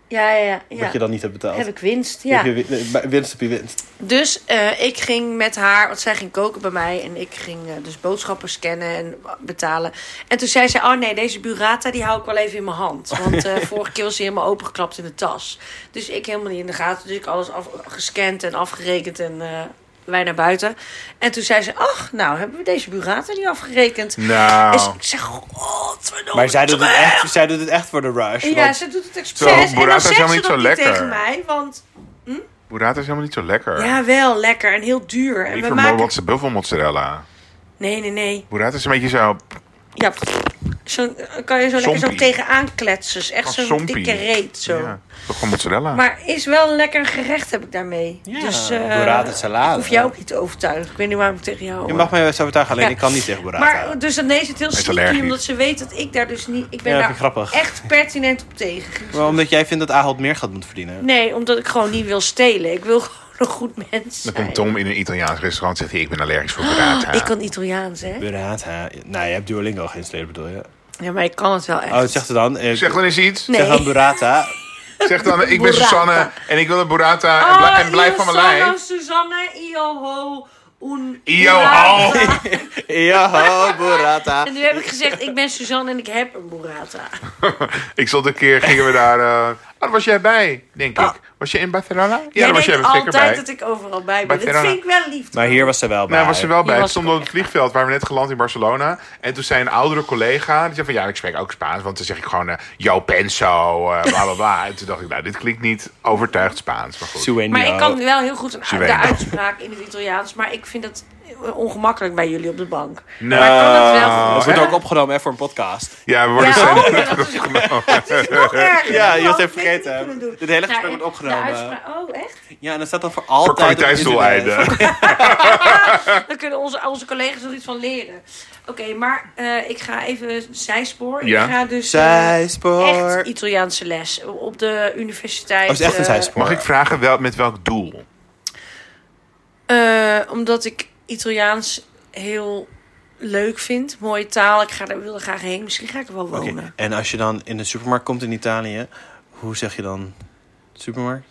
Ja, ja, ja. ja. Wat je dan niet hebt betaald. Heb ik winst, ja. Heb je win- eh, winst op je winst. Dus eh, ik ging met haar, want zij ging koken bij mij en ik ging eh, dus boodschappen scannen en betalen. En toen zei ze, oh nee, deze burrata die hou ik wel even in mijn hand. Want eh, vorige keer was ze helemaal opengeklapt in de tas. Dus ik helemaal niet in de gaten, dus ik alles af, gescand en afgerekend en eh, wij naar buiten. En toen zei ze, ach, nou hebben we deze burrata niet afgerekend. Nou, En ze- ik zeg, godverdomme. Maar zij doet, het terug." echt, zij doet het echt voor de rush. Ja, want- ze doet het Zo, expres. en burrata dan is zegt helemaal ze niet dat zo niet lekker. tegen mij, want... burrata is helemaal niet zo lekker. Ja, wel lekker en heel duur. En Liever we maken... Molotse buffelmozzarella. Nee, nee, nee. Burrata is een beetje zo... Ja, pff, zo, eh, kan je zo lekker zo Zompie. tegenaan kletsen. Is Echt Als zo'n zompie. dikke reet zo. Ja, toch gewoon mozzarella. Maar is wel een lekker gerecht heb ik daarmee. Ja, dus eh, burrata salade. hoef jou ook niet te overtuigen. Ik weet niet waarom ik tegen jou... Je mag mij best overtuigen, alleen Ja. ik kan niet tegen Burrata. maar dus dan is het heel sneaky, allergisch. omdat ze weet dat ik daar dus niet... Ik ben Ja, vind daar ik grappig. echt pertinent op tegen. Maar omdat jij vindt dat Ahold meer geld moet verdienen. Nee, omdat ik gewoon niet wil stelen. Ik wil gewoon een goed mens Dan zijn. Ah, komt Tom in een Italiaans restaurant en zegt hij, ik ben allergisch voor burrata. Ik kan Italiaans, hè? Burrata. Nou, je hebt Duolingo geïnstalleerd, bedoel je? Ja, maar ik kan het wel echt. Oh, wat zegt ze dan? Eh, Zeg dan eens iets. Nee. zeg dan Burrata. Zeg dan, ik ben Burrata. Susanne en ik wil een burrata Ah, en, bla- en blijf van mijn lijn. lijn. Susanne, Ioho, un... Io, burrata. ho. ja, oh, ho, Burrata. En nu heb ik gezegd, ik ben Suzanne en ik heb een burrata. Ik stond een keer, gingen we daar... eh, Ah, daar was jij bij, denk ik. Was je in Barcelona? Ja, Ah. Jij daar was jij denkt er zeker altijd bij. dat ik overal bij Bij ben. Dat Verona. vind ik wel lief. Maar hier was ze wel bij. Nou, was er wel bij. was Het er stond ook op het vliegveld, waar we net geland in Barcelona. En toen zei een oudere collega, die zei van ja, ik spreek ook Spaans. Want dan zeg ik gewoon, eh, yo penso, eh, bla bla bla. En toen dacht ik, nou, dit klinkt niet overtuigd Spaans. Maar goed. Sueño. Maar ik kan wel heel goed een, weet de het. uitspraak in het Italiaans. Maar ik vind dat... eh, ongemakkelijk bij jullie op de bank. Nou, maar kan dat wel? Oh, dat wordt hè? ook opgenomen hè, voor een podcast. Ja, we worden Ja, zijn- oh, ja, dat is- genomen. dat is nog erger. Ja, je Dat had had even ik niet vergeten. kunnen doen. Dit hele gesprek Nou, wordt de opgenomen. uitspraak- Oh, echt? Ja, en dat staat dan voor Voor altijd op internet. kwaliteitsdoeleinden. Daar kunnen onze, onze collega's nog iets van leren. Oké, maar eh, ik ga even zijspoor. Ja. Ik ga dus eh, Zijspoor. echt Italiaanse les op de universiteit. Oh, is echt een eh, zijspoor. Mag ik vragen wel, met welk doel? eh, omdat ik Italiaans heel leuk vind. Mooie taal. Ik ga daar, wil er graag heen. Misschien ga ik er wel Oké, wonen. En als je dan in de supermarkt komt in Italië, hoe zeg je dan supermarkt?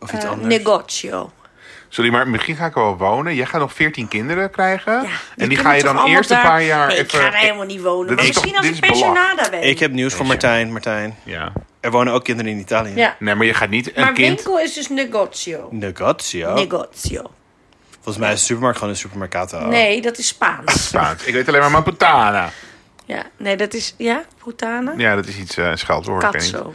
Of iets Eh, anders? negozio. Sorry, maar misschien ga ik er wel wonen. Jij gaat nog 14 kinderen krijgen. Ja, en die kunnen ga je toch dan allemaal eerst daar- een paar jaar Nee, even... ik ga daar helemaal niet wonen. Dit Maar is toch- misschien als dit ik is belach. pensionada ben. Ik heb nieuws voor Martijn. Martijn, Ja. er wonen ook kinderen in Italië. ja. Nee, maar je gaat niet een Maar kind... Oh. winkel is dus negozio. Negozio. Negozio. Volgens mij is de supermarkt gewoon een supermercato. Nee, dat is Spaans. Spaans. Ik weet alleen maar Maputana. Ja, nee, dat is... Ja, Putana? Ja, dat is iets, eh, een scheldwoord. ik weet niet. Katso.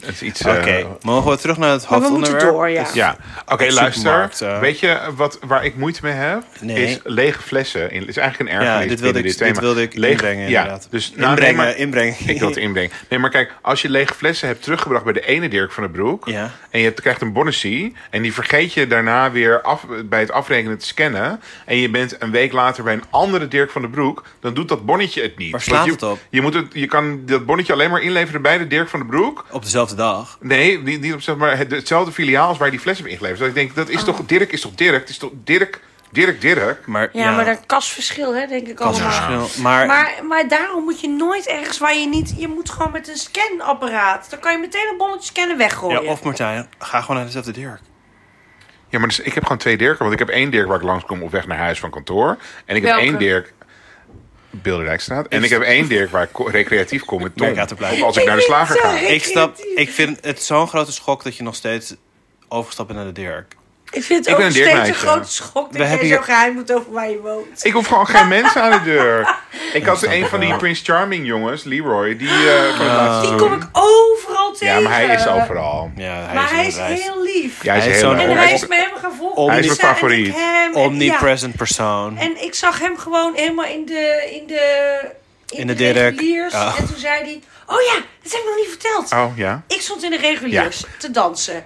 Het is iets... Oké, eh, mogen we terug naar het Maar we moeten hoofdonderwerp? Dus door, ja. Ja, oké, luister. supermarkt, eh. Weet je wat, waar ik moeite mee heb? Nee. Is lege flessen. Het is eigenlijk een ergernis Ja, dit wilde binnen dit ik, dit thema. wilde ik Leeg- inbrengen inderdaad. Ja, dus, nou, nee, inbrengen, maar- inbrengen. Ik wil het inbrengen. Nee, maar kijk, als je lege flessen hebt teruggebracht bij de ene Dirk van den Broek... Ja. en je hebt- krijgt een bonnessie... en die vergeet je daarna weer af, bij het afrekenen te scannen... en je bent een week later bij een andere Dirk van den Broek... dan doet dat bonnetje het niet. Waar slaat je, het op? Je, moet het, je kan dat bonnetje alleen maar inleveren bij de Dirk van den Broek... Op dezelfde dag. Nee, niet, niet op zeg maar het, hetzelfde filiaal als waar je die fles hebt ingeleverd. Dat ik denk, dat is Oh. toch Dirk, is toch Dirk? Het is toch Dirk, Dirk, Dirk? Maar, Ja, maar dan kasverschil, hè, denk ik Pas allemaal. verschil. Maar, Maar, maar daarom moet je nooit ergens waar je niet... Je moet gewoon met een scanapparaat. Dan kan je meteen een bonnetje scannen ja, weggooien. of Martijn, ga gewoon naar dezelfde Dirk. Ja, maar dus, ik heb gewoon twee Dirken. Want ik heb één Dirk waar ik langskom op weg naar huis van kantoor. En ik heb Welke? één Dirk... Bilderdijkstraat. En ik heb één Dirk waar ik ko- recreatief kom met Tom. Merk uit te blijven. Of als ik naar de slager ga. Sorry. Ik snap, Creatief. ik vind het zo'n grote schok dat je nog steeds overstapt bent naar de Dirk. Ik vind Ik het ook ben een steeds een dirkmeisje. grote schok We dat jij hebben zo hier- geheim moet over waar je woont. Ik hoef gewoon geen mensen aan de deur. Ik had snap een ik van die wel. Prince Charming jongens, Leroy, die eh, Ah. van het laatste Die seizoen. kom ik overal tegen. Ja, maar hij is overal. Ja, hij Maar hij is, is hij is heel lief. Ja, hij is, Hij is heel zo'n- leuk. En Hij hij is- is me helemaal gaan volgen. Hij is mijn Ja, en ik favoriet. hem, en- omnipresent persoon. ja. En ik zag hem gewoon helemaal in de... In de, In de dirk. reguliers. Ja. En toen zei hij... Oh ja, dat heb ik nog niet verteld. Oh, ja? Ik stond in de reguliers te dansen.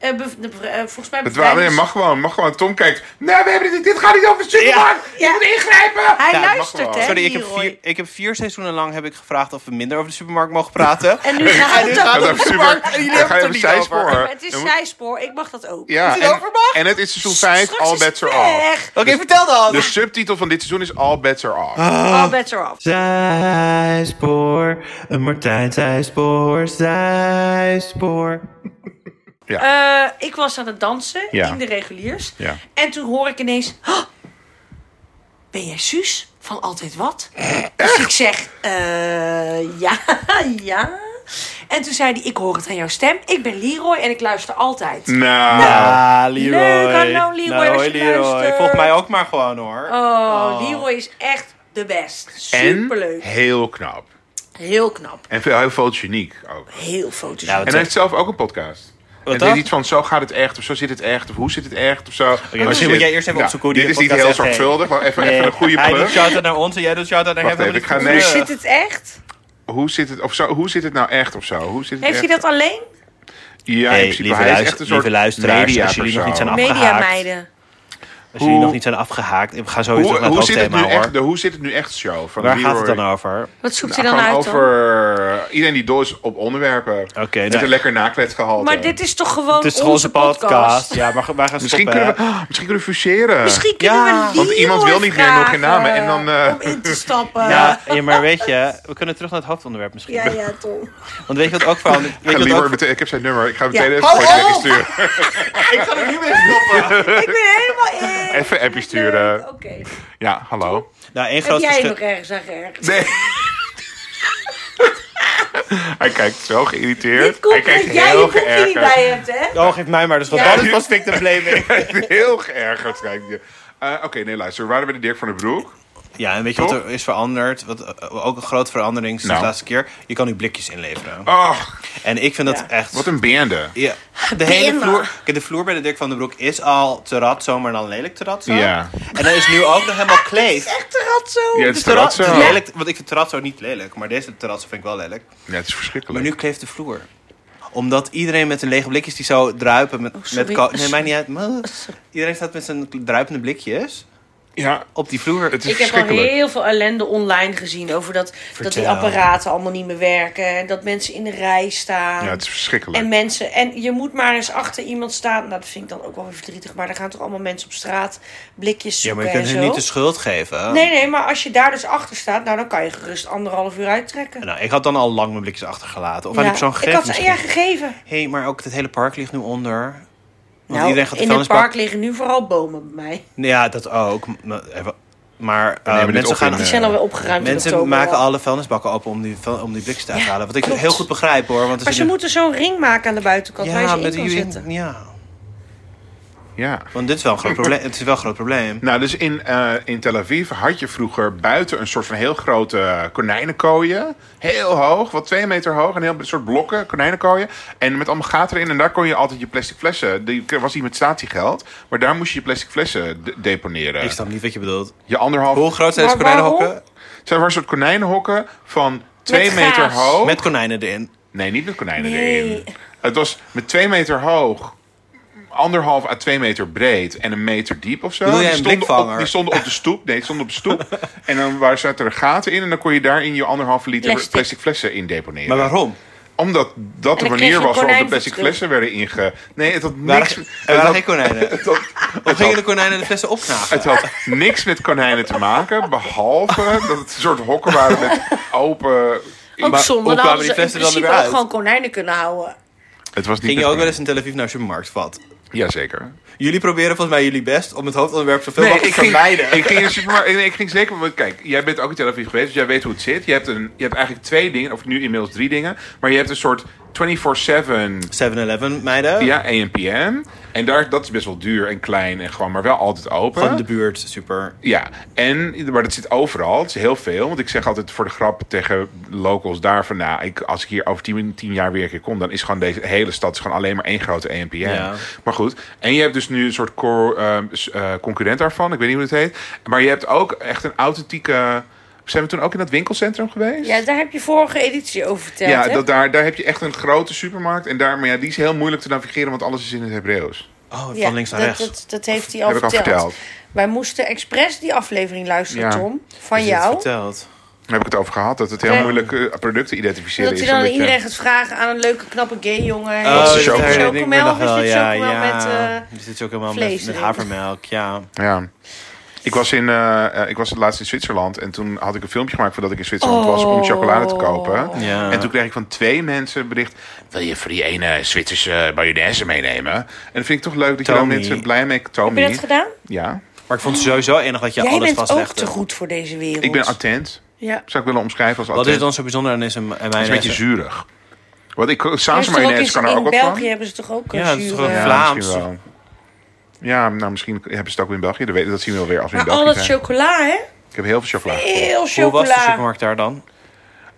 Eh, bev- de- eh, volgens mij Het wa- bevrijdings- dus- nee, mag gewoon, mag gewoon. Tom kijkt, nee, we hebben dit, dit gaat niet over de supermarkt. Ja. Je moet ingrijpen. Hij Ja, mag luistert, wel. hè, Sorry, ik heb, Leroy. vier, ik heb vier seizoenen lang heb ik gevraagd of we minder over de supermarkt mogen praten. En nu gaat het Gaat over. over de supermarkt. jullie Dan hebben ga het je er over niet over. zijspoor. Maar het is Dan moet- zijspoor, ik mag dat ook. Ja, het en, overmacht? en het is seizoen 5, Straks All is het Bets Are Off. weg. Oké, vertel dan. De subtitel van dit seizoen is All Bets Are Off. Ah. All bets are off. Zijspoor, een Martijn zijspoor, zijspoor. Eh, ik was aan het dansen Ja. in de reguliers. Ja. En toen hoor ik ineens... "Oh, ben jij Suus van Altijd Wat? Dus ik zeg... eh, ja, ja. En toen zei hij, ik hoor het aan jouw stem. Ik ben Leroy en ik luister altijd. Nou, Ah, Leroy. Leuk, hallo, Leroy, Nou, als hoi, je Leroy. luistert. Volg mij ook maar gewoon hoor. Oh, Leroy is echt de best. en Superleuk. heel knap. Heel knap. En veel, heel fotogeniek ook. Heel foto's. Ja, wat- En hij heeft zelf ook een podcast. En het dan? is iets van zo gaat het echt, of zo zit het echt, of hoe zit het echt, of zo. Als je misschien moet dit- jij eerst even opzoeken hoe die Dit is niet heel podcast echt heet. zorgvuldig, maar even, even een goede Hij doet plug. shout-out naar ons en jij doet shout-out naar Wacht hem. even, ik ga Wat nee. Hoe eh, is zit het echt? Hoe zit het, of zo, hoe zit het nou echt, of zo? Hoe zit het Heeft echt? hij dat alleen? Ja, Hey, in principe. lieve Hij is luister- echt een soort lieve luisteraars, media als jullie nog niet zijn persoon. af- Afgehaakt. Mediameiden. Als jullie Hoe- nog niet zijn afgehaakt, we gaan sowieso Hoe, naar het hoe, zit het nu hoofdthema hoor. echt, de hoe zit het nu echt show? Van Waar Leroy. gaat het dan over? Wat zoekt Nou, hij dan gewoon uit dan? over iedereen die dol is op onderwerpen. Oké, Met nou- een lekker nakletsgehalte. Maar dit is toch gewoon Het is gewoon onze onze podcast? podcast. Ja, maar wij gaan misschien, stoppen. kunnen hè. we, Ah, misschien kunnen we fuseren. Misschien kunnen we Ja. Leroy Want iemand wil niet meer, vragen nog geen namen. En dan, eh, Om in te stappen. Ja, ja, maar weet je, we kunnen terug naar het hoofdonderwerp misschien. ja, ja, Tom. Want weet je wat ook van... Weet Ik, ga je wat Leroy ook, meteen- ik heb zijn nummer. Ik ga Ja. meteen even Hou een voice op! appje sturen. ik ga er nu mee stoppen. Ik ben helemaal in. Even een appje sturen. Oké. Ja, hallo. Nou, één Heb groot jij verschil... nog ergens aan geërgerd? Nee. Hij kijkt zo geïrriteerd. Dit Hij komt kijkt dat jij je heel boekje niet geërgerd. bij hebt, hè? Oh, geef mij maar. Dus wat Ja. dat is pas victim blaming. heel geërgerd kijkt hij. Eh, Oké, nee, luister. We waren bij de Dirk van der Broek. Ja, en weet je wat er is veranderd? Wat, eh, ook een grote verandering sinds Nou. de laatste keer. Je kan nu blikjes inleveren. Oh, En ik vind dat Ja. echt... wat een beende. Ja, de hele vloer, kijk, de vloer bij de Dirk van den Broek is al terrazzo, maar dan lelijk terrazzo. Ja. En dan is nu ook nog helemaal kleef. Echt een rat zo. Ja, het is terrazzo. Terra- Ja, lelijk, want ik vind terrazzo niet lelijk, maar deze terrazzo vind ik wel lelijk. het is Maar verschrikkelijk. nu kleeft de vloer. Omdat iedereen met de lege blikjes die zo druipen met... Oh, sorry. met ko- nee, mij niet uit. Maar- Iedereen staat met zijn druipende blikjes Ja, op die vloer. het is Ik heb al verschrikkelijk. heel veel ellende online gezien over dat, dat die Vertel. apparaten allemaal niet meer werken. En dat mensen in de rij staan. Ja, het is verschrikkelijk. en mensen, en je moet maar eens achter iemand staan. Nou, dat vind ik dan ook wel weer verdrietig. Maar er gaan toch allemaal mensen op straat blikjes Ja, zoeken maar je kunt en hun zo. niet de schuld geven. Nee, nee, maar als je daar dus achter staat, nou dan kan je gerust anderhalf uur uittrekken. Nou, ik had dan al lang mijn blikjes achtergelaten. Of aan Ja, die persoon ik gegeven had ze aan misschien. ja, gegeven. Hé, maar ook het hele park ligt nu onder. Want Nou, iedereen gaat de in het vuilnisbak- park liggen nu vooral bomen bij mij. Nee, Ja, dat ook. M- even- Maar eh, nemen dit mensen op gaan... in, Die eh, zijn alweer opgeruimd in Mensen oktober maken al. alle vuilnisbakken open om die, vuil- om die blikjes te uithalen. Wat ik klopt. heel goed begrijp hoor. Want er Maar ze zit een- moeten zo'n ring maken aan de buitenkant waar je Ja, ze in met kan die zetten. Ja, Ja. want dit is wel een groot probleem. Het is wel een groot probleem. Nou, dus in, eh, in Tel Aviv had je vroeger buiten een soort van heel grote konijnenkooien. Heel hoog, wel twee meter hoog. Een heel soort blokken konijnenkooien. En met allemaal gaten erin. En daar kon je altijd je plastic flessen... Die was iets met statiegeld. Maar daar moest je je plastic flessen de- deponeren. Ik snap niet wat je bedoelt. Je anderhalf... Hoe groot zijn Maar deze konijnenhokken? Zijn er een soort konijnenhokken van twee Met meter gaas. hoog. Met konijnen erin. Nee, niet met konijnen Nee. erin. Het was met twee meter hoog, anderhalf à twee meter breed en een meter diep of zo. Wil jij die, een stonden op, blikvanger? die stonden op de stoep. Nee, die stonden op de stoep. en dan waar zaten er gaten in en dan kon je daarin je anderhalve liter plastic, Plastic. flessen in deponeren. Maar waarom? Omdat dat de dan kreeg je manier een was waarop de konijn plastic voor terug. flessen werden inge... Nee, het had niks... Waren, er het waren had- geen konijnen. het had- Of gingen de konijnen de flessen opknagen? het had niks met konijnen te maken, behalve dat het een soort hokken waren met open... Ook Maar zonde, hoe dan kwamen hadden die ze in flessen dan principe weer ook uit? gewoon konijnen kunnen houden. Het was niet Ging je met ook wel konijnen. eens in Tel Aviv naar een supermarktvat? Jazeker. Jullie proberen volgens mij jullie best om het hoofdonderwerp zoveel Nee, ik mogelijk te ging, vermijden. ik ging in de supermarkt. nee, Ik ging zeker. want Kijk, jij bent ook in Tel Aviv geweest, dus jij weet hoe het zit. Je hebt, een, je hebt eigenlijk twee dingen, of nu inmiddels drie dingen. Maar je hebt een soort 24-7 7-Eleven meiden. ja, ANPM. En daar, dat is best wel duur en klein en gewoon, maar wel altijd open. Van de buurt, super. Ja, en, maar dat zit overal. Het is heel veel. Want ik zeg altijd voor de grap tegen locals daar van... Nou, ik, als ik hier over 10, 10 jaar weer een keer kom... dan is gewoon deze hele stad is gewoon alleen maar één grote E EMPM. Ja. Maar goed. En je hebt dus nu een soort cor- eh, s- eh, concurrent daarvan. Ik weet niet hoe het heet. Maar je hebt ook echt een authentieke... Zijn we toen ook in dat winkelcentrum geweest? Ja, daar heb je vorige editie over verteld, Ja, hè? dat, daar, daar heb je echt een grote supermarkt. En daar, maar ja, die is heel moeilijk te navigeren, want alles is in het Hebreeuws. Oh, van Ja, links naar dat, rechts. Dat, dat heeft hij al, Heb ik al verteld. verteld. Wij moesten expres die aflevering luisteren, Ja. Tom, van Is dit jou. verteld? Daar heb ik het over gehad, dat het heel Nee. moeilijk eh, producten identificeren Dat hij is. dan aan omdat je- iedereen gaat vragen aan een leuke, knappe gay Oh, jongen. dat is is chocomel. dit herinner chocomel of is dit ja, chocomel met... ja. eh, Is dit chocomel vlees met, met erin? havermelk, ja. Ja. Ik was, in, eh, eh, ik was laatst in Zwitserland en toen had ik een filmpje gemaakt voordat ik in Zwitserland was om Oh. chocolade te kopen. Ja. En toen kreeg ik van twee mensen bericht: Wil je voor die ene Zwitserse mayonaise meenemen? En dat vind ik toch leuk dat je dan Tommy. mensen blij mee Heb je Tommy. dat gedaan? Ja, Maar ik vond het sowieso enig oh, dat je Ah. Jij alles bent ook vastlegt. te goed voor deze wereld. ik ben attent. Ja. Zou ik willen omschrijven als Wat is attent? dan zo bijzonder aan deze mijn Het is een beetje zuurig. Want ik, saus Er is toch ook mayonaise in- kan er in ook wat België van. hebben ze toch ook Ja, een eh, dat is toch Ja, zure... Vlaams. misschien wel. Ja, nou misschien hebben ze het ook weer in België. Dat weten- Dat zien we wel weer als we in Maar al België dat zijn. chocola, hè? Ik heb heel veel chocola. Heel Hoe was de chocola. supermarkt daar dan?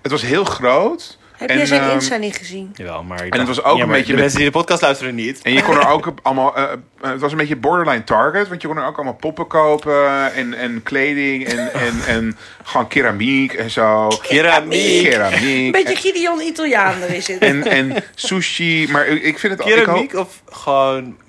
Het was heel groot. Heb jij zijn ehm, Insta niet gezien? Jawel, maar... ik En het dacht- was ook Ja, een maar beetje De met- mensen die de podcast luisteren niet. En je kon er ook op allemaal. eh, eh, het was een beetje borderline target. Want je kon er ook allemaal poppen kopen. En, en kleding. En, en, en gewoon keramiek en zo. Keramiek. Een Keramiek. beetje Gideon Italiaan er is het. En, en sushi. Maar ik ik vind het ik Keramiek of gewoon... hoop-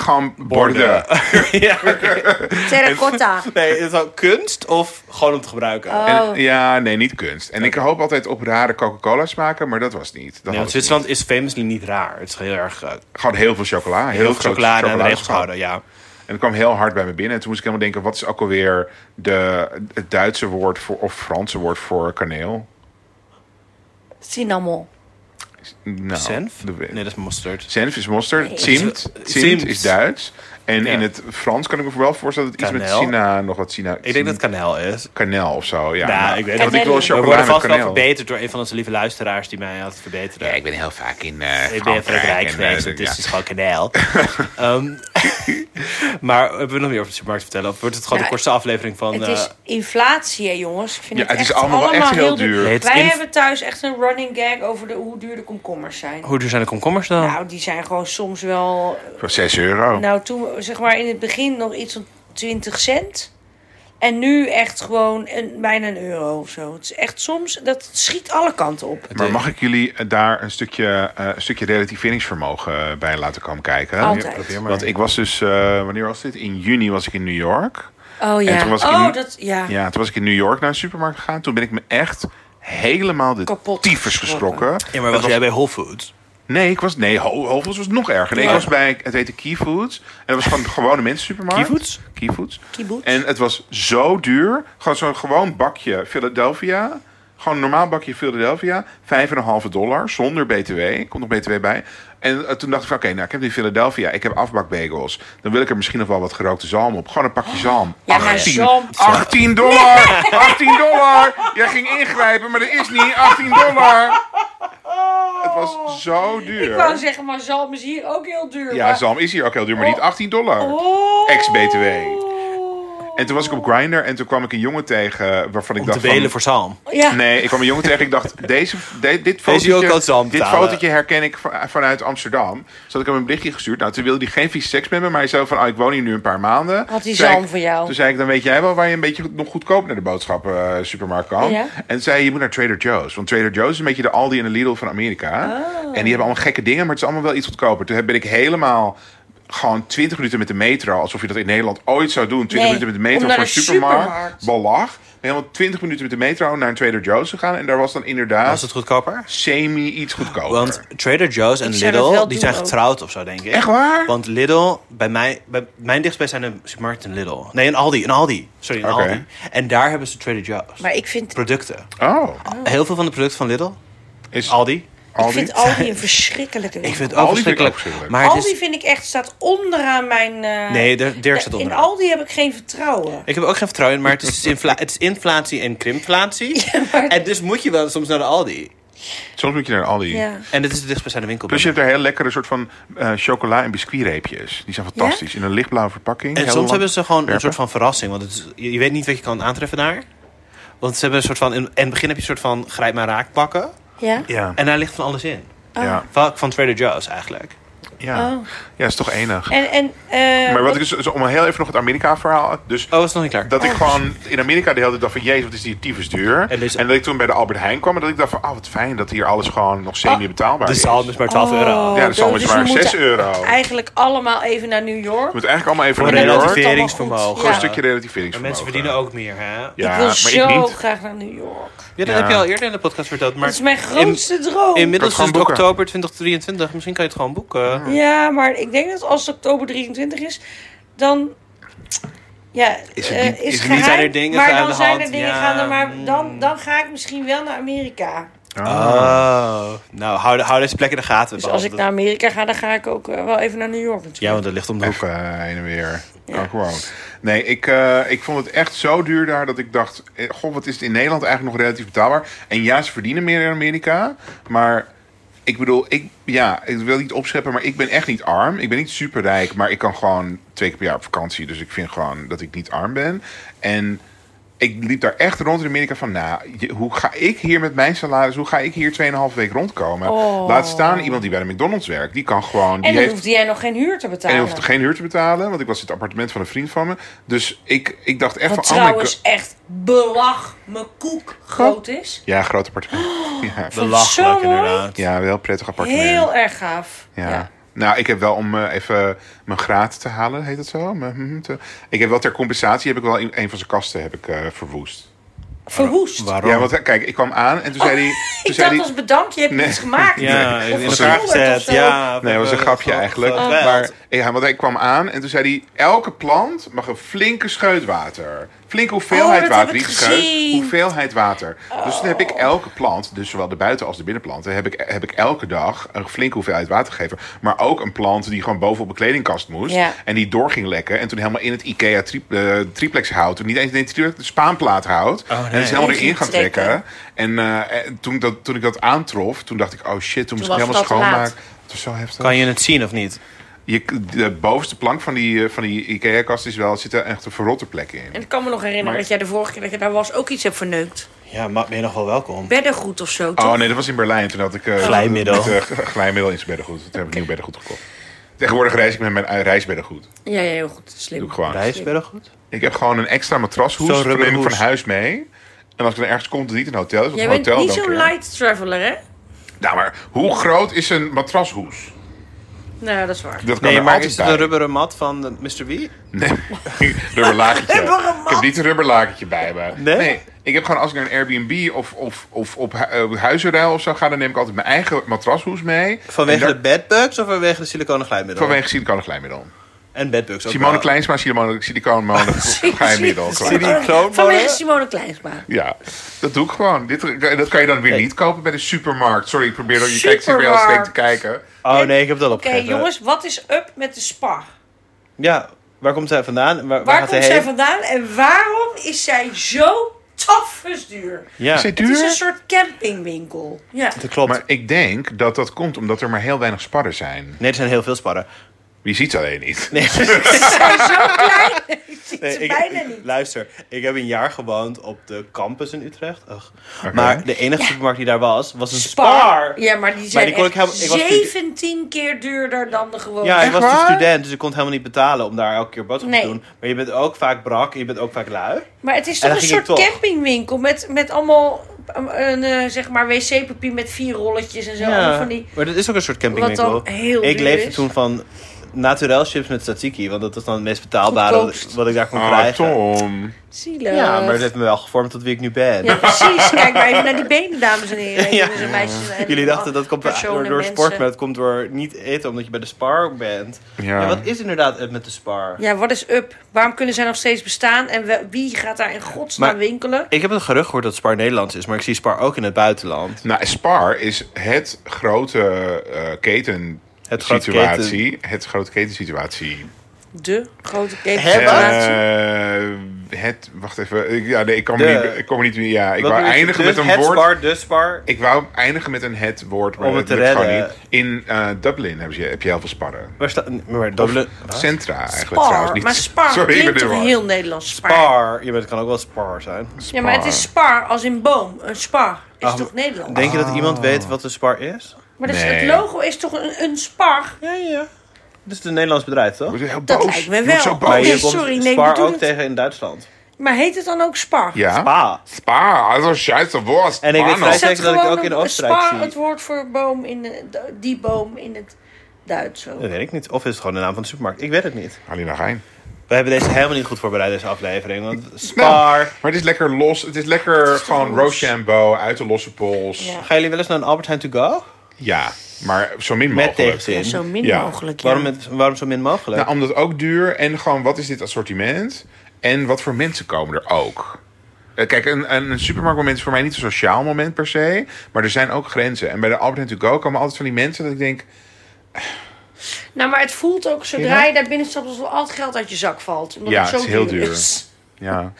gewoon borden. borden? ja, oké. Terracotta. Nee, is dat kunst of gewoon om te gebruiken? Oh. En, ja, nee, niet kunst. En ik hoop altijd op rare Coca-Cola smaken, maar dat was het niet. Dat had Nee, ik want niet. Zwitserland is famously niet raar. Het is heel erg... eh, Gewoon heel veel chocola. Heel, Heel veel veel chocolade aan de regels chocoladesmaak. houden, ja. En dat kwam heel hard bij me binnen. En toen moest ik helemaal denken: wat is ook alweer de, het Duitse woord voor, of Franse woord voor kaneel? Cinnamon. Nou, Senf? de- Nee, dat is mosterd. Senf is mosterd. Nee. Zimt. Zimt. Zimt is Duits. En Ja. in het Frans kan ik me wel voorstellen dat iets met Kanel. China, nog wat China. Ik denk dat het kanel is. kanel of zo. Ja, Nou, Maar- ik weet Want het ik wil niet. We worden chocola met vast wel kanel. verbeterd door een van onze lieve luisteraars die mij had verbeterd. Ja, ik ben heel vaak in eh Ik ben in Frankrijk en, geweest, eh, het is ja. dus gewoon kanaal. Ehm, maar hebben we nog meer over de supermarkt te vertellen? Of wordt het gewoon Ja, de kortste aflevering van... Nou, Het eh, is inflatie, hè, jongens. Ik vind Ja, het, het is echt allemaal wel echt heel duur. Nee, het is Wij inf- hebben thuis echt een running gag over de, hoe duur de komkommers zijn. Hoe duur zijn de komkommers dan? Nou, die zijn gewoon soms wel... Voor 6 euro. Nou, toen, zeg maar, in het begin nog iets van 20 cent. En nu echt gewoon een, bijna een euro of zo. Het is echt soms... Dat schiet alle kanten op. maar mag ik jullie eh, daar een stukje, eh, een stukje relativeringsvermogen eh, bij laten komen kijken? Altijd. Probeer maar. Want ik was dus, eh, wanneer was dit? In juni was ik in New York. Oh ja. En toen was ik in- oh, dat... Ja. Ja, toen was ik in New York naar een supermarkt gegaan. Toen ben ik me echt helemaal de Kapot tyfus geschrokken. Ja, maar Dat was jij bij Whole Foods? Nee, ik was, nee Ho- Whole Foods was nog erger. Nee, Ja. ik was bij, het heette Key Foods. En dat was gewoon een gewone mensen supermarkt. Key Foods? Key Foods. Kibbutz. En het was zo duur. Gewoon zo'n gewoon bakje Philadelphia. Gewoon een normaal bakje Philadelphia. 5,5 dollar zonder BTW. Komt nog BTW bij. En eh, toen dacht ik van oké, nou ik heb die Philadelphia. Ik heb afbakbagels. Dan wil ik er misschien nog wel wat gerookte zalm op. Gewoon een pakje zalm. Ja, maar 18, zalm- 18 dollar. 18 dollar. Jij ging ingrijpen, maar dat is niet. 18 dollar. Het was zo duur. Ik wou zeggen, maar zalm is hier ook heel duur. Ja, maar- zalm is hier ook heel duur, maar niet 18 dollar. Oh. Ex-BTW. En toen was ik op Grindr en toen kwam ik een jongen tegen waarvan ik Om te dacht belen van, voor zalm. Ja. Nee, ik kwam een jongen tegen. Ik dacht, deze, de- dit, die ook uit fotootje, zalm dit betalen. fotootje herken ik van- vanuit Amsterdam. Dus had ik hem een berichtje gestuurd. Nou, toen wilde hij geen vieze seks met me, maar hij zei van... Oh, ik woon hier nu een paar maanden. Had hij Toen zei zalm ik- voor jou? Toen zei ik, dan weet jij wel waar je een beetje goed- nog goedkoop naar de boodschappen eh, supermarkt kan. Ja. En toen zei hij, je moet naar Trader Joe's. Want Trader Joe's is een beetje de Aldi en de Lidl van Amerika. Oh. En die hebben allemaal gekke dingen, maar het is allemaal wel iets goedkoper. Toen ben ik helemaal... Gewoon 20 minuten met de metro, alsof je dat in Nederland ooit zou doen. 20 Nee, minuten met de metro om naar voor een de supermarkt. supermarkt. Belag. Helemaal 20 minuten met de metro naar een Trader Joe's gegaan. En daar was dan inderdaad Was het goedkoper? semi iets goedkoper. Want Trader Joe's en Ik zou dat wel Lidl, die doen zijn ook. getrouwd of zo, denk ik. Echt waar? Want Lidl, bij mij, bij mijn dichtstbijzijnde supermarkt een Lidl. Nee, een Aldi, een Aldi. Sorry, een Oké. Aldi. En daar hebben ze Trader Joe's. Maar ik vind, Producten. oh, Heel veel van de producten van Lidl, is Aldi. ik Aldi? vind Aldi een verschrikkelijke Ik winkel. vind het Aldi vind ik ook ook verschrikkelijk. verschrikkelijk. Maar het Aldi is, vind ik echt, staat onderaan mijn... eh, nee, Dirk Dirk staat In onder. Aldi heb ik geen vertrouwen. Ik heb ook geen vertrouwen in, maar het is, dus infla- het is inflatie en krimflatie. En dus moet je wel soms naar de Aldi. Soms moet je naar Aldi. Ja. En dit is de dichtstbijzijnde winkel. Plus Dus je hebt daar heel lekkere soort van eh, chocola- en biscuitreepjes. Die zijn fantastisch. In een lichtblauwe verpakking. En Heel soms lang hebben ze gewoon een werpen. soort van verrassing. Want het is- je je weet niet wat je kan aantreffen daar. Want ze hebben een soort van... In, in het begin heb je een soort van grijp maar raak pakken. Ja? Ja, En daar ligt van alles in. ja, Vaak van Trader Joe's eigenlijk. ja. Oh. Ja, is toch enig. En, en, eh, Maar wat ik dus, dus om heel even nog het Amerika-verhaal. Dus Oh, is nog niet klaar. dat ik gewoon in Amerika de hele tijd dacht van... Jezus, wat is die tyfus duur. En En, dus- dat ik toen bij de Albert Heijn kwam... en dat ik dacht van, ah, wat fijn dat hier alles gewoon nog semi-betaalbaar Ah. de is. zalm is maar 12 euro. Ja, de zalm is dus maar we 6 moeten euro. Eigenlijk allemaal even naar New York. Je Oh. moet eigenlijk allemaal even Voor naar New York. relativeer- Gewoon relativeringsvermogen. Gewoon een een stukje En relativeringsvermogen. mensen verdienen ook meer, hè? Ja, Ja, ik wil maar zo ik niet. graag naar New York. dat Ja. heb je al eerder in de podcast verteld. Maar Dat is mijn in- grootste droom. inmiddels is Kan het het gewoon boeken. oktober 2023. Misschien kan je het gewoon boeken. Ja, maar ik denk dat als het oktober 23 is, dan... Ja, Is het eh, niet- is is het geheim, niet- zijn er dingen maar aan dan de zijn hand? er dingen Ja, gaande, maar dan, dan ga ik misschien wel naar Amerika. Oh. Nou, hou, de- hou deze plek in de gaten. Dus als behalve ik dat- naar Amerika ga, dan ga ik ook eh, wel even naar New York natuurlijk. Ja, want dat ligt om de hoek. Even eh, heen en weer. Kan gewoon. Nee, ik, eh, ik vond het echt zo duur daar dat ik dacht... eh, Goh, wat is het in Nederland eigenlijk nog relatief betaalbaar? En ja, ze verdienen meer in Amerika. Maar ik bedoel, ik, ja, ik wil niet opscheppen... maar ik ben echt niet arm. Ik ben niet superrijk, maar ik kan gewoon twee keer per jaar op vakantie. Dus ik vind gewoon dat ik niet arm ben. En... Ik liep daar echt rond in Amerika van, nou, je- hoe ga ik hier met mijn salaris, hoe ga ik hier 2,5 week rondkomen? Oh. Laat staan iemand die bij de McDonald's werkt, die kan gewoon. die En dan heeft- hoefde jij nog geen huur te en betalen. je hoeft geen huur te betalen, want ik was in het appartement van een vriend van me. Dus ik, ik dacht echt Wat van... oh my trouwens god. echt belag mijn koek groot is. ja, groot appartement. Ja. Zo Belachelijk, mooi. inderdaad. ja, wel prettig appartement. Heel erg gaaf. ja. Nou, ik heb wel om eh, even mijn graad te halen, heet dat zo? Mijn- hm, te- Ik heb wel ter compensatie, heb ik wel een, een van zijn kasten heb ik, eh, verwoest. Verwoest. Waarom? Ja, want eh, kijk, ik kwam aan en toen zei hij... Toen Oh, Ik zei dacht hij als bedankt, je hebt Nee. iets gemaakt. Ja, Of in een elkaar schilder of gezet. zo. Ja, nee, dat was een grapje eigenlijk. Maar Ja, want hij kwam aan en toen zei hij... Elke plant mag een flinke scheut water. Flinke hoeveelheid Oh, dat water. heb ik Niet scheut, gezien. Oh. hoeveelheid water. Dus toen heb ik elke plant, dus zowel de buiten- als de binnenplanten... Heb ik, heb ik elke dag een flinke hoeveelheid water gegeven. Maar ook een plant die gewoon boven op een kledingkast moest. Ja. En die door ging lekken. En toen helemaal in het Ikea tri- eh, triplex hout. Niet eens nee, tri- spaanplaat hout. Oh, nee. En is helemaal Die erin ging gaan trekken. trekken. En, eh, en toen, dat, toen ik dat aantrof, toen dacht ik... Oh shit, toen, moest ik was helemaal het al te laat. schoonmaken. Het was zo heftig. Kan je het zien of niet? Je, de bovenste plank van die, eh, van die IKEA-kast is wel, zit er echt een verrotte plek in. En ik kan me nog herinneren Maar- dat jij de vorige keer dat je daar was ook iets hebt verneukt. Ja, maar ben je nog wel welkom? Beddengoed of zo, toch? Oh nee, dat was in Berlijn. Toen had ik eh, Glijmiddel. met, eh, g- glijmiddel in zijn beddengoed. Toen heb ik nieuw beddengoed gekocht. Tegenwoordig reis ik met mijn eh, reisbeddengoed. Dat Ja, ja, heel goed. doe Slim. ik gewoon. Reis wel goed. Ik heb gewoon een extra matrashoes. Zo'n Dat neem ik van rubberhoes. huis mee. En als ik dan ergens kom, dan niet in hotels. Want Jij een bent hotel niet dan zo'n weer. light traveler, hè? Nou, maar hoe groot is een matrashoes? Nou, dat is waar. Dat kan Nee, er maar altijd is het bij. een rubberen mat van eh, Mr. Wie? Nee, rubberlakentje. Rubberman. ik heb niet een rubberlakentje bij me. Nee? ik heb gewoon als ik naar een Airbnb of, of, of op hu- eh, huizenruil of zo ga, dan neem ik altijd mijn eigen matrashoes mee. Vanwege En daar- de bedbugs of vanwege de siliconen glijmiddel? Vanwege siliconen glijmiddel. En bedbugs ook Simone wel. Kleinsma, siliconen, siliconen glijmiddel. Sili- Klein. kloonmolen? Vanwege Simone Kleinsma. Ja, dat doe ik gewoon. Dit, dat kan je dan weer Kijk. niet kopen bij de supermarkt. Sorry, ik probeer dat je kijkt, ik zit weer heel Supermarkt. steek te kijken. Oh nee, ik heb dat Oké, opgegeven. jongens, wat is up met de spa? Waar, Ja, waar komt zij vandaan? Waar, waar, gaat komt zij zij heen? vandaan en waarom is zij zo tafes duur? Is Ja, het Het is een duur? soort campingwinkel. Ja. dat klopt. Maar ik denk dat dat komt omdat er maar heel weinig sparren zijn. Nee, er zijn heel veel sparren. Je ziet ze alleen niet. Zijn zo klein. Ik zie Nee, ze ik- bijna ik- niet. Luister, ik heb een jaar gewoond op de campus in Utrecht. Ugh. Maar de enige supermarkt die daar was, was een Spar. Ja, maar die Maar zijn die kon ik echt helemaal- ik was- 17 keer duurder dan de gewone. Ja, ik Echt was waar? de student, dus ik kon het helemaal niet betalen om daar elke keer boodschappen Nee. te doen. Maar je bent ook vaak brak en je bent ook vaak lui. Maar het is En toch dan een ging ik soort toch. campingwinkel met, met allemaal um, een, eh, zeg maar wc-papier met vier rolletjes en zo. allemaal Van die... Maar dat is ook een soort campingwinkel. Wat dan heel ik duur leefde is. toen van naturel chips met tzatziki, want dat was dan het meest betaalbare Goedkoopst. wat ik daar kon Ah, krijgen. Tom. Zielig. Ja, maar dat heeft me wel gevormd tot wie ik nu ben. Ja, precies. Kijk maar even naar die benen, dames en heren. Ja. Jongens en meisjes en Jullie dachten dat komt door, personen, door sport, mensen. maar het komt door niet eten, omdat je bij de spar bent. Ja. Ja. wat is inderdaad het met de spar? Ja, wat is up? Waarom kunnen zij nog steeds bestaan? En we- wie gaat daar in godsnaam Maar- winkelen? Ik heb het gerucht gehoord dat spar Nederlands is, maar ik zie spar ook in het buitenland. Nou, Spar is het grote eh keten. Het grote situatie, het grote ketensituatie. De grote Hè, wat? ketensituatie. Eh, het, wacht even. Ik, ja, nee, ik kan De- me niet. Ik kom er niet meer. Ja, ik Wat wou bedoel je, eindigen dus met een het woord. Spar, de spar. Ik wou eindigen met een het woord, maar Om het dat te lukt gewoon redden. niet. In eh, Dublin heb je, heb je heel veel sparren. Waar staat. Maar dubbele. Centra eigenlijk trouwens Spar. niet. Maar spar Sorry, ik ben klinkt er toch wel. heel Nederlands? Spar. Spar. Ja, maar het kan ook wel spar zijn. Ja, maar het is spar als in boom. Een spar is toch Nederlands? Denk je dat iemand weet wat een spar is? Maar dat is- Nee. het logo is toch een, een spar? Ja, ja. Het is een Nederlands bedrijf, toch? Word je heel Dat boos? lijkt me Je wel. wordt zo boos. Maar je Nee, sorry, nee, spar bedoel ook het- tegen in Duitsland. Maar heet het dan ook spar? Ja. Pa. Spar, dat is een scheisse woord. En ik weet Spar nog. vrij Is dat zeker dat ik gewoon ook in een- Oostenrijk spar, zie. het woord voor boom in de, die boom in het Duits ook? Dat weet ik niet. Of is het gewoon de naam van de supermarkt? Ik weet het niet. Alina Rijn. We hebben deze helemaal niet goed voorbereid, deze aflevering. Want spar. Nou, maar het is lekker los. Het is lekker gewoon los. Rochambeau uit de losse pols. Ja, Ja. Gaan jullie wel eens naar een Albert Heijn to go? maar zo min Met mogelijk. tegenzin. Ja, zo min Ja. mogelijk. Ja. Waarom, het- waarom zo min mogelijk? Nou, omdat ook duur en gewoon wat is dit assortiment en wat voor mensen komen er ook. Eh, Kijk, een, een, een supermarktmoment is voor mij niet een sociaal moment per se, maar er zijn ook grenzen. En bij de Albert Heijn To Go komen altijd van die mensen dat ik denk, Nou, maar het voelt ook Ja. zodra je daar binnen stapt alsof al het geld uit je zak valt. Omdat Ja, het, zo het is heel duur. is. ja, het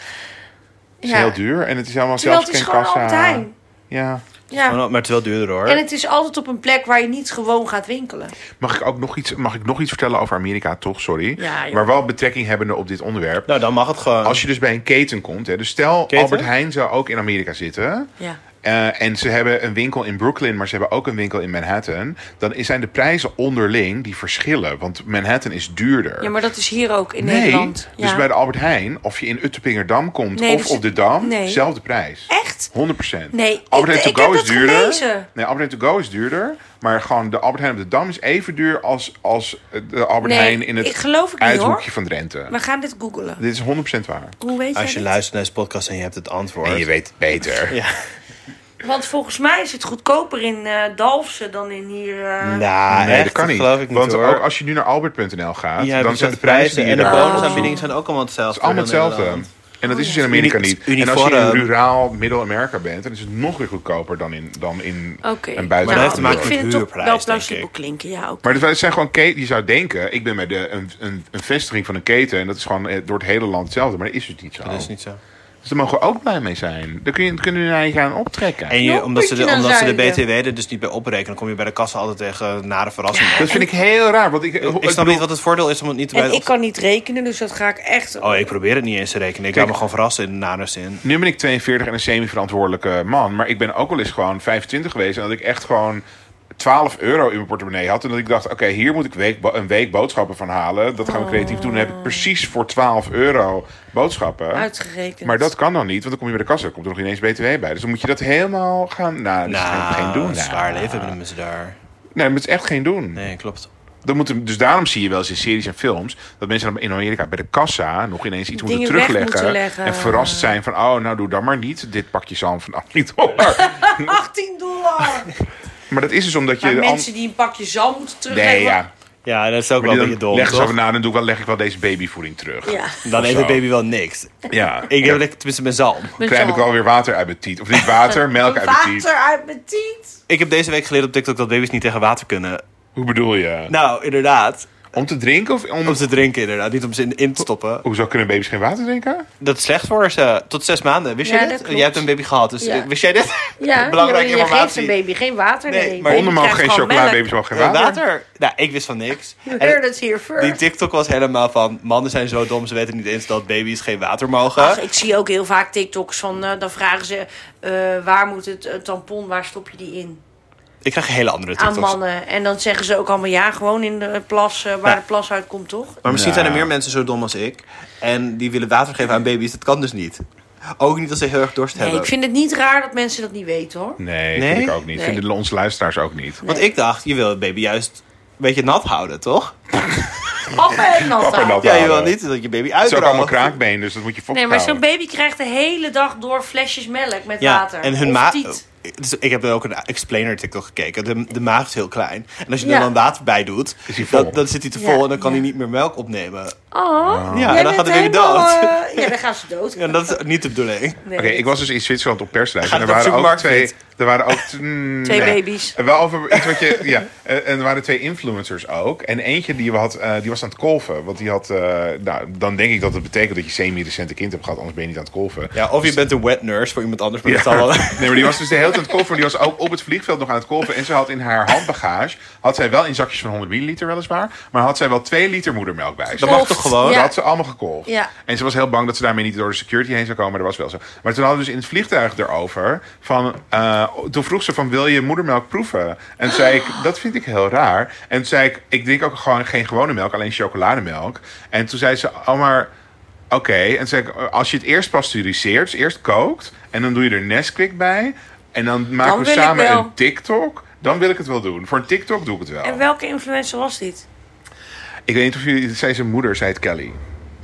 is Ja. heel duur en het is allemaal Terwijl het zelfs is geen gewoon kassa. Albert Heijn. Ja. Ja. maar het is wel duurder hoor. En het is altijd op een plek waar je niet gewoon gaat winkelen. Mag ik ook nog iets, mag ik nog iets vertellen over Amerika, toch? Sorry. Ja, joh. maar wel betrekking hebbende op dit onderwerp. Nou, dan mag het gewoon. Oh. Als je dus bij een keten komt, hè, dus stel Keten? Albert Heijn zou ook in Amerika zitten. Ja. eh, en ze hebben een winkel in Brooklyn, maar ze hebben ook een winkel in Manhattan. Dan is- zijn de prijzen onderling die verschillen. Want Manhattan is duurder. ja, maar dat is hier ook in nee, Nederland. Ja. dus bij de Albert Heijn, of je in Uttepingerdam komt Nee, of dus- op de Dam, nee. zelfde prijs. Echt? 100%. Nee, Albert ik- Heijn ik to go heb is dat duurder. gelezen. Nee, Albert Heijn to go is duurder. Maar gewoon de Albert Heijn op de Dam is even duur als, als de Albert Nee, Heijn in het ik geloof het niet, hoor. uithoekje van Drenthe. We gaan dit googelen. Dit is 100% waar. Hoe weet jij Als je dit? luistert naar deze podcast en je hebt het antwoord. weet het beter. Ja. Want volgens mij is het goedkoper in eh Dalfsen dan in hier. eh, Nou, nee, echt, dat kan niet. geloof ik niet Want hoor. ook als je nu naar albert.nl gaat, Ja, dan zijn de precies, prijzen die je en de daar... Het bonusaanbiedingen zijn ook allemaal hetzelfde. is allemaal dan in hetzelfde. Nederland. En dat is dus in Amerika Oh, Uni- niet. En als je in uniform. ruraal Middel-Amerika bent, dan is het nog weer goedkoper dan in, dan in Oké. een Nou, dat buitenland. heeft te maken ik met vind het toch huurprijs, wel denk plausibel ik. klinken. Ja, ook. Maar het zijn gewoon keten. Je zou denken, ik ben bij de, een, een, een vestiging van een keten. En dat is gewoon eh, door het hele land hetzelfde. Maar dat is dus niet zo. Dat is niet zo. Dus daar mogen we ook blij mee zijn. Daar kun je, kunnen we naar je gaan optrekken. En je, Nog omdat ze de, een omdat ze de beetje BTW er dus niet bij oprekenen, kom je bij de kassa altijd tegen eh, nare verrassingen. dat vind ik heel raar. Want ik, ik ik snap niet wat het voordeel is om het niet bij En de ik kan niet rekenen, dus dat ga ik echt. Oh, ik probeer het niet eens te rekenen. Ik laat Kijk. me gewoon verrassen in de nare zin. Nu ben ik 42 en een semi-verantwoordelijke man. Maar ik ben ook wel eens gewoon 25 geweest. En dat ik echt gewoon 12 euro in mijn portemonnee had. En dat ik dacht, oké, hier moet ik week, een week boodschappen van halen. Dat gaan we creatief doen. Dan heb ik precies voor 12 euro boodschappen. Uitgerekend. Maar dat kan dan niet, want dan kom je bij de kassa. Dan komt er nog ineens BTW bij. Dus dan moet je dat helemaal gaan... Nou, dat is Nou, geen, geen doen. zwaar nou. leven hebben de mensen daar. Nee, maar het is echt geen doen. Nee, klopt. Dan moeten, dus daarom zie je wel eens in series en films... dat mensen dan in Amerika bij de kassa nog ineens iets moeten Dingen weg terugleggen. moeten leggen. En verrast zijn van... oh, nou doe dan maar niet. Dit pakje zalm van 18 dollar. 18 dollar! maar dat is dus omdat je... Maar de an- mensen die een pakje zalm moeten teruggeven. nee, ja. Ja, dat is ook Maar wel die een beetje dan dom, leggen ze toch? over na... dan doe ik wel, leg ik wel deze babyvoeding terug. Ja. Dan eet de zo. baby wel niks. Ja. Ik Ja. heb lekker tenminste mijn zalm. Met krijg ik zalm. wel weer water uit mijn tiet. Of niet water, melk uit mijn tiet. Water uit mijn tiet. Ik heb deze week geleerd op TikTok dat baby's niet tegen water kunnen. Hoe bedoel je? Nou, inderdaad. Om te drinken of om... Om ze drinken, inderdaad. Niet om ze in, in te stoppen. Hoezo kunnen baby's geen water drinken? Dat is slecht voor ze. Tot zes maanden. Wist Ja, je dat dit? klopt. Jij hebt een baby gehad, dus Ja. eh, wist jij dit? Ja, Belangrijke je geeft informatie. een baby geen water. Nee, Nee, maar Baby Honden mogen krijgt geen gewoon chocola, melk. baby's mogen geen Water. water. Nou, ik wist van niks. You En- heard it here Die first. TikTok was helemaal van mannen zijn zo dom, ze weten niet eens dat baby's geen water mogen. Ach, ik zie ook heel vaak TikToks van, eh, dan vragen ze, eh, waar moet het eh, tampon, waar stop je die in? ik krijg hele Aan andere TikToks. mannen. En dan zeggen ze ook allemaal, ja, gewoon in de plas, eh, waar Ja. de plas uitkomt, toch? Maar misschien Ja. zijn er meer mensen zo dom als ik. En die willen water geven aan baby's. Dat kan dus niet. Ook niet als ze heel erg dorst Nee, hebben. ik vind het niet raar dat mensen dat niet weten, hoor. Nee, Nee? vind ik ook niet. Nee. Vinden onze luisteraars ook niet. Want ik dacht, je wil het baby juist een beetje nat houden, toch? Papa en Natta. Papa en Natta. Ja, je wil houden. niet dat je baby Het is ook uitdroogt. allemaal kraakbeen, dus dat moet je Nee, fokken maar zo'n baby krijgt de hele dag door flesjes melk met Ja, water. en hun Of maag... tiet. Dus ik heb ook een explainer TikTok gekeken. De, de maag is heel klein. En als je er Ja. dan water bij doet, Is hij vol. dan, dan zit hij te Ja, vol en dan kan ja. hij niet meer melk opnemen. Oh, Ja, jij dan gaat bent de baby helemaal, dood. eh, ja, dan gaan ze dood. En dat is niet de bedoeling. Nee. Oké, ik was dus in Zwitserland op persreis. Gaat En er het op waren ook supermarkt twee... Er waren ook... mm, Twee nee. baby's. En Wel over iets wat je... Ja, Eh, en en er waren twee influencers ook. En eentje die, we had, eh, die was aan het kolven. Want die had... eh, nou, dan denk ik dat het betekent dat je semi-recente kind hebt gehad. Anders ben je niet aan het kolven. Ja, of je bent een wet nurse voor iemand anders, maar dat Ja. zal wel... Nee, maar die was dus de hele tijd aan het kolven. Die was ook op het vliegveld nog aan het kolven. En ze had in haar handbagage, had zij wel in zakjes van 100 milliliter weliswaar, maar had zij wel 2 liter moedermelk bij zich. Dat mag toch gewoon? Dat Ja. had ze allemaal gekolfd. Ja. En ze was heel bang dat ze daarmee niet door de security heen zou komen. Maar dat was wel zo. Maar toen hadden we dus in het vliegtuig erover. Van, eh, toen vroeg ze van, wil je moedermelk proeven? En toen zei ik, dat vind ik heel raar. En toen zei ik, ik drink ook gewoon geen gewone melk, alleen chocolademelk. En toen zei ze, oh maar... Oké, en toen zei ik, als je het eerst pasteuriseert, dus eerst kookt... en dan doe je er Nesquik bij... en dan maken Dan we wil ik samen wel. een TikTok... dan wil ik het wel doen. Voor een TikTok doe ik het wel. En welke influencer was dit? Ik weet niet of jullie... Zei zijn moeder, zei het Kelly.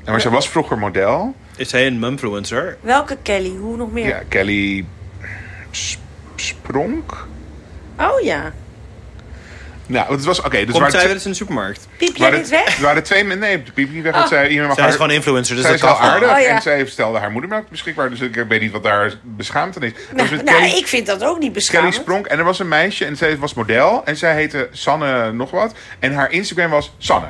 Maar ze was vroeger model... Is hij een mumfluencer? Welke Kelly? Hoe nog meer? Ja, Kelly S- Spronk. Oh ja. Nou, want het was oké. dus Komt waren zij wel twee- eens in de supermarkt? Piep jij waren, dit weg? er waren twee mensen. Nee, de piep niet weg. Want zij, iemand mag Zij haar- is gewoon influencer, dus zij dat is wel kan aardig. Oh, ja. En zij stelde haar moedermelk beschikbaar. Dus ik weet niet wat daar beschaamd aan is. Dat was Nou, met nou, Kelly, ik vind dat ook niet Kelly beschaamd. Spronk. En er was een meisje. En zij was model. En zij heette Sanne nog wat. En haar Instagram was Sanne.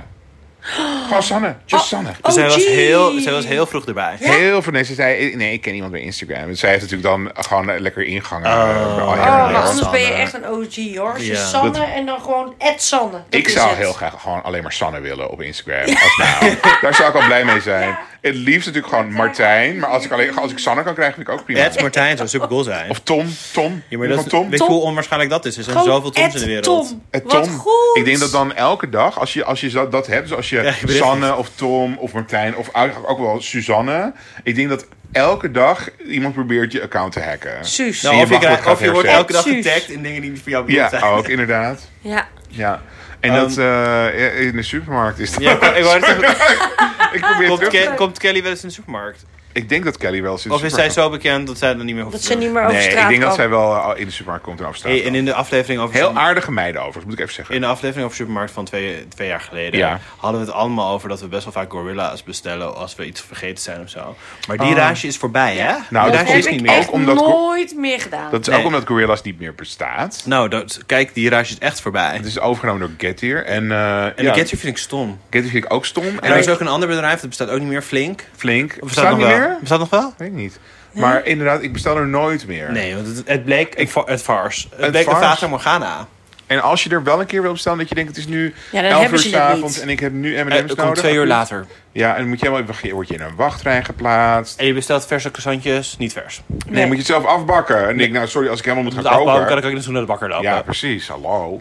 Gewoon Sanne. Just Sanne. Dus Oh, zij, Dus was gee. heel, zij was heel vroeg erbij. Ja? Heel veel mensen zeiden, "Eh, nee, ik ken iemand bij Instagram. En zij heeft natuurlijk dan gewoon eh, lekker ingangen. eh, bij al her en Oh, der. maar anders Sanne. ben je echt een OG hoor. Als je eh, Ja. Sanne en dan gewoon Ed Sanne. Dat ik is zou het. heel graag gewoon alleen maar Sanne willen op Instagram. Als naam. Daar zou ik al blij mee zijn. Het liefst natuurlijk gewoon Martijn. Maar als ik, alleen, als ik Sanne kan krijgen, vind ik ook prima. Ed Martijn zou super cool zijn. Of Tom. Tom. ja, maar Van dat, Tom. weet je hoe onwaarschijnlijk dat is? Er zijn Gewoon zoveel Toms Ed in de wereld. Nou, Tom. Eh, Wat Tom. goed. Ik denk dat dan elke dag, als je, als je dat, dat hebt, dus als je Ja, je bent- Sanne of Tom of Martijn of eigenlijk ook wel Suzanne. Ik denk dat elke dag iemand probeert je account te hacken. Suus. Nou, En je of je, mag krijgt- wordt of je wordt geaverseerd. elke dag Suus. getagd in dingen die niet voor jou bedoeld Ja, zijn. ook inderdaad. Ja. Ja. En Ehm, dat eh, in de supermarkt is dat. Ja, ik wou- ik wou net zeggen, ik probeer komt, terug. Ke- komt Kelly wel eens in de supermarkt? Ik denk dat Kelly wel eens in de Of is zij supermarkt zo bekend dat zij er niet meer hoeft Dat te ze doen? niet meer komt. over Nee, straat ik denk dat kan. zij wel eh, in de supermarkt komt en over straat Hey, en loopt. in de aflevering over Heel aardige meiden overigens, moet ik even zeggen. In de aflevering over supermarkt van twee, twee jaar geleden Ja. hadden we het allemaal over dat we best wel vaak gorilla's bestellen als we iets vergeten zijn of zo. Maar die rage is voorbij, hè? Nou, Oh. die Dat dat rage is heb is ik niet ook meer. echt omdat- nooit meer gedaan. Dat is Nee. ook omdat Gorillas niet meer bestaat. Nou, dat, kijk, die rage is echt voorbij. Het is overgenomen door Getir. En, eh En ja, de Getty vind ik stom. Getir vind ik ook stom. En er En is ook een ander bedrijf, dat bestaat ook niet meer, Flink. flink. Of Bestaat nog niet wel? meer? Bestaat nog wel? Weet ik niet. Maar inderdaad, ik bestel er nooit meer. Nee, want het, het bleek ik, het farce. Het, Het bleek de farce. Fata Morgana. En als je er wel een keer wil bestellen, dat je denkt, het is nu Ja, dan 11 hebben uur ze het s'avonds niet. en ik heb nu M&M's Eh, nodig. Het komt twee uur later. Ja, en dan moet je helemaal, wacht, je- word je in een wachtrij geplaatst. En je bestelt verse croissantjes, niet vers. Nee, moet je het zelf afbakken. En denk ik, nou sorry, als ik helemaal moet Met gaan afbouwen kan koken. ik ook niet zo naar de bakker lopen. Ja, precies, hallo.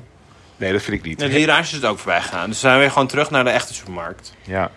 Nee, dat vind ik niet. En die rage is het ook voorbij gegaan. Dus zijn we gewoon terug naar de echte supermarkt. Ja.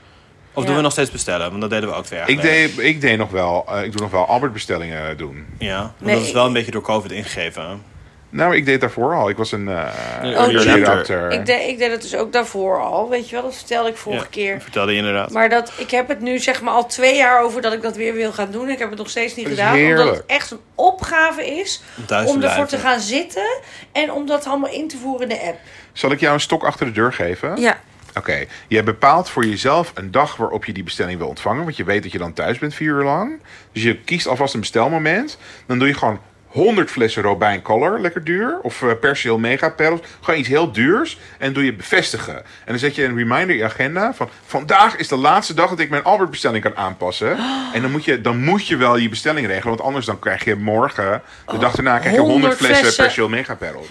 Of Ja. doen we nog steeds bestellen? Want dat deden we ook twee jaar Ik, geleden. deed, ik deed nog wel, eh, ik doe nog wel Albert bestellingen doen. Ja, want Nee, dat is wel ik- een beetje door COVID ingegeven. Nou, ik deed daarvoor al. Ik was een eh early early adopter. adopter. Ik, deed, ik deed het dus ook daarvoor al. Weet je wel, dat vertelde ik vorige Ja, keer. Vertelde je inderdaad. Maar dat, ik heb het nu zeg maar al twee jaar over dat ik dat weer wil gaan doen. Ik heb het nog steeds niet Dat is gedaan. Omdat heerlijk. het echt een opgave is thuis om te ervoor blijven. te gaan zitten. En om dat allemaal in te voeren in de app. Zal ik jou een stok achter de deur geven? Ja. Oké, je bepaalt voor jezelf een dag waarop je die bestelling wil ontvangen. Want je weet dat je dan thuis bent vier uur lang. Dus je kiest alvast een bestelmoment. Dan doe je gewoon 100 flessen Robijn Color, lekker duur. Of eh, Persil Mega Perls. Gewoon iets heel duurs. En doe je bevestigen. En dan zet je een reminder in je agenda van... Vandaag is de laatste dag dat ik mijn Albert-bestelling kan aanpassen. En dan moet, je, dan moet je wel je bestelling regelen. Want anders dan krijg je morgen... De dag daarna krijg je 100 100 flessen flessen. Persil Mega Perls.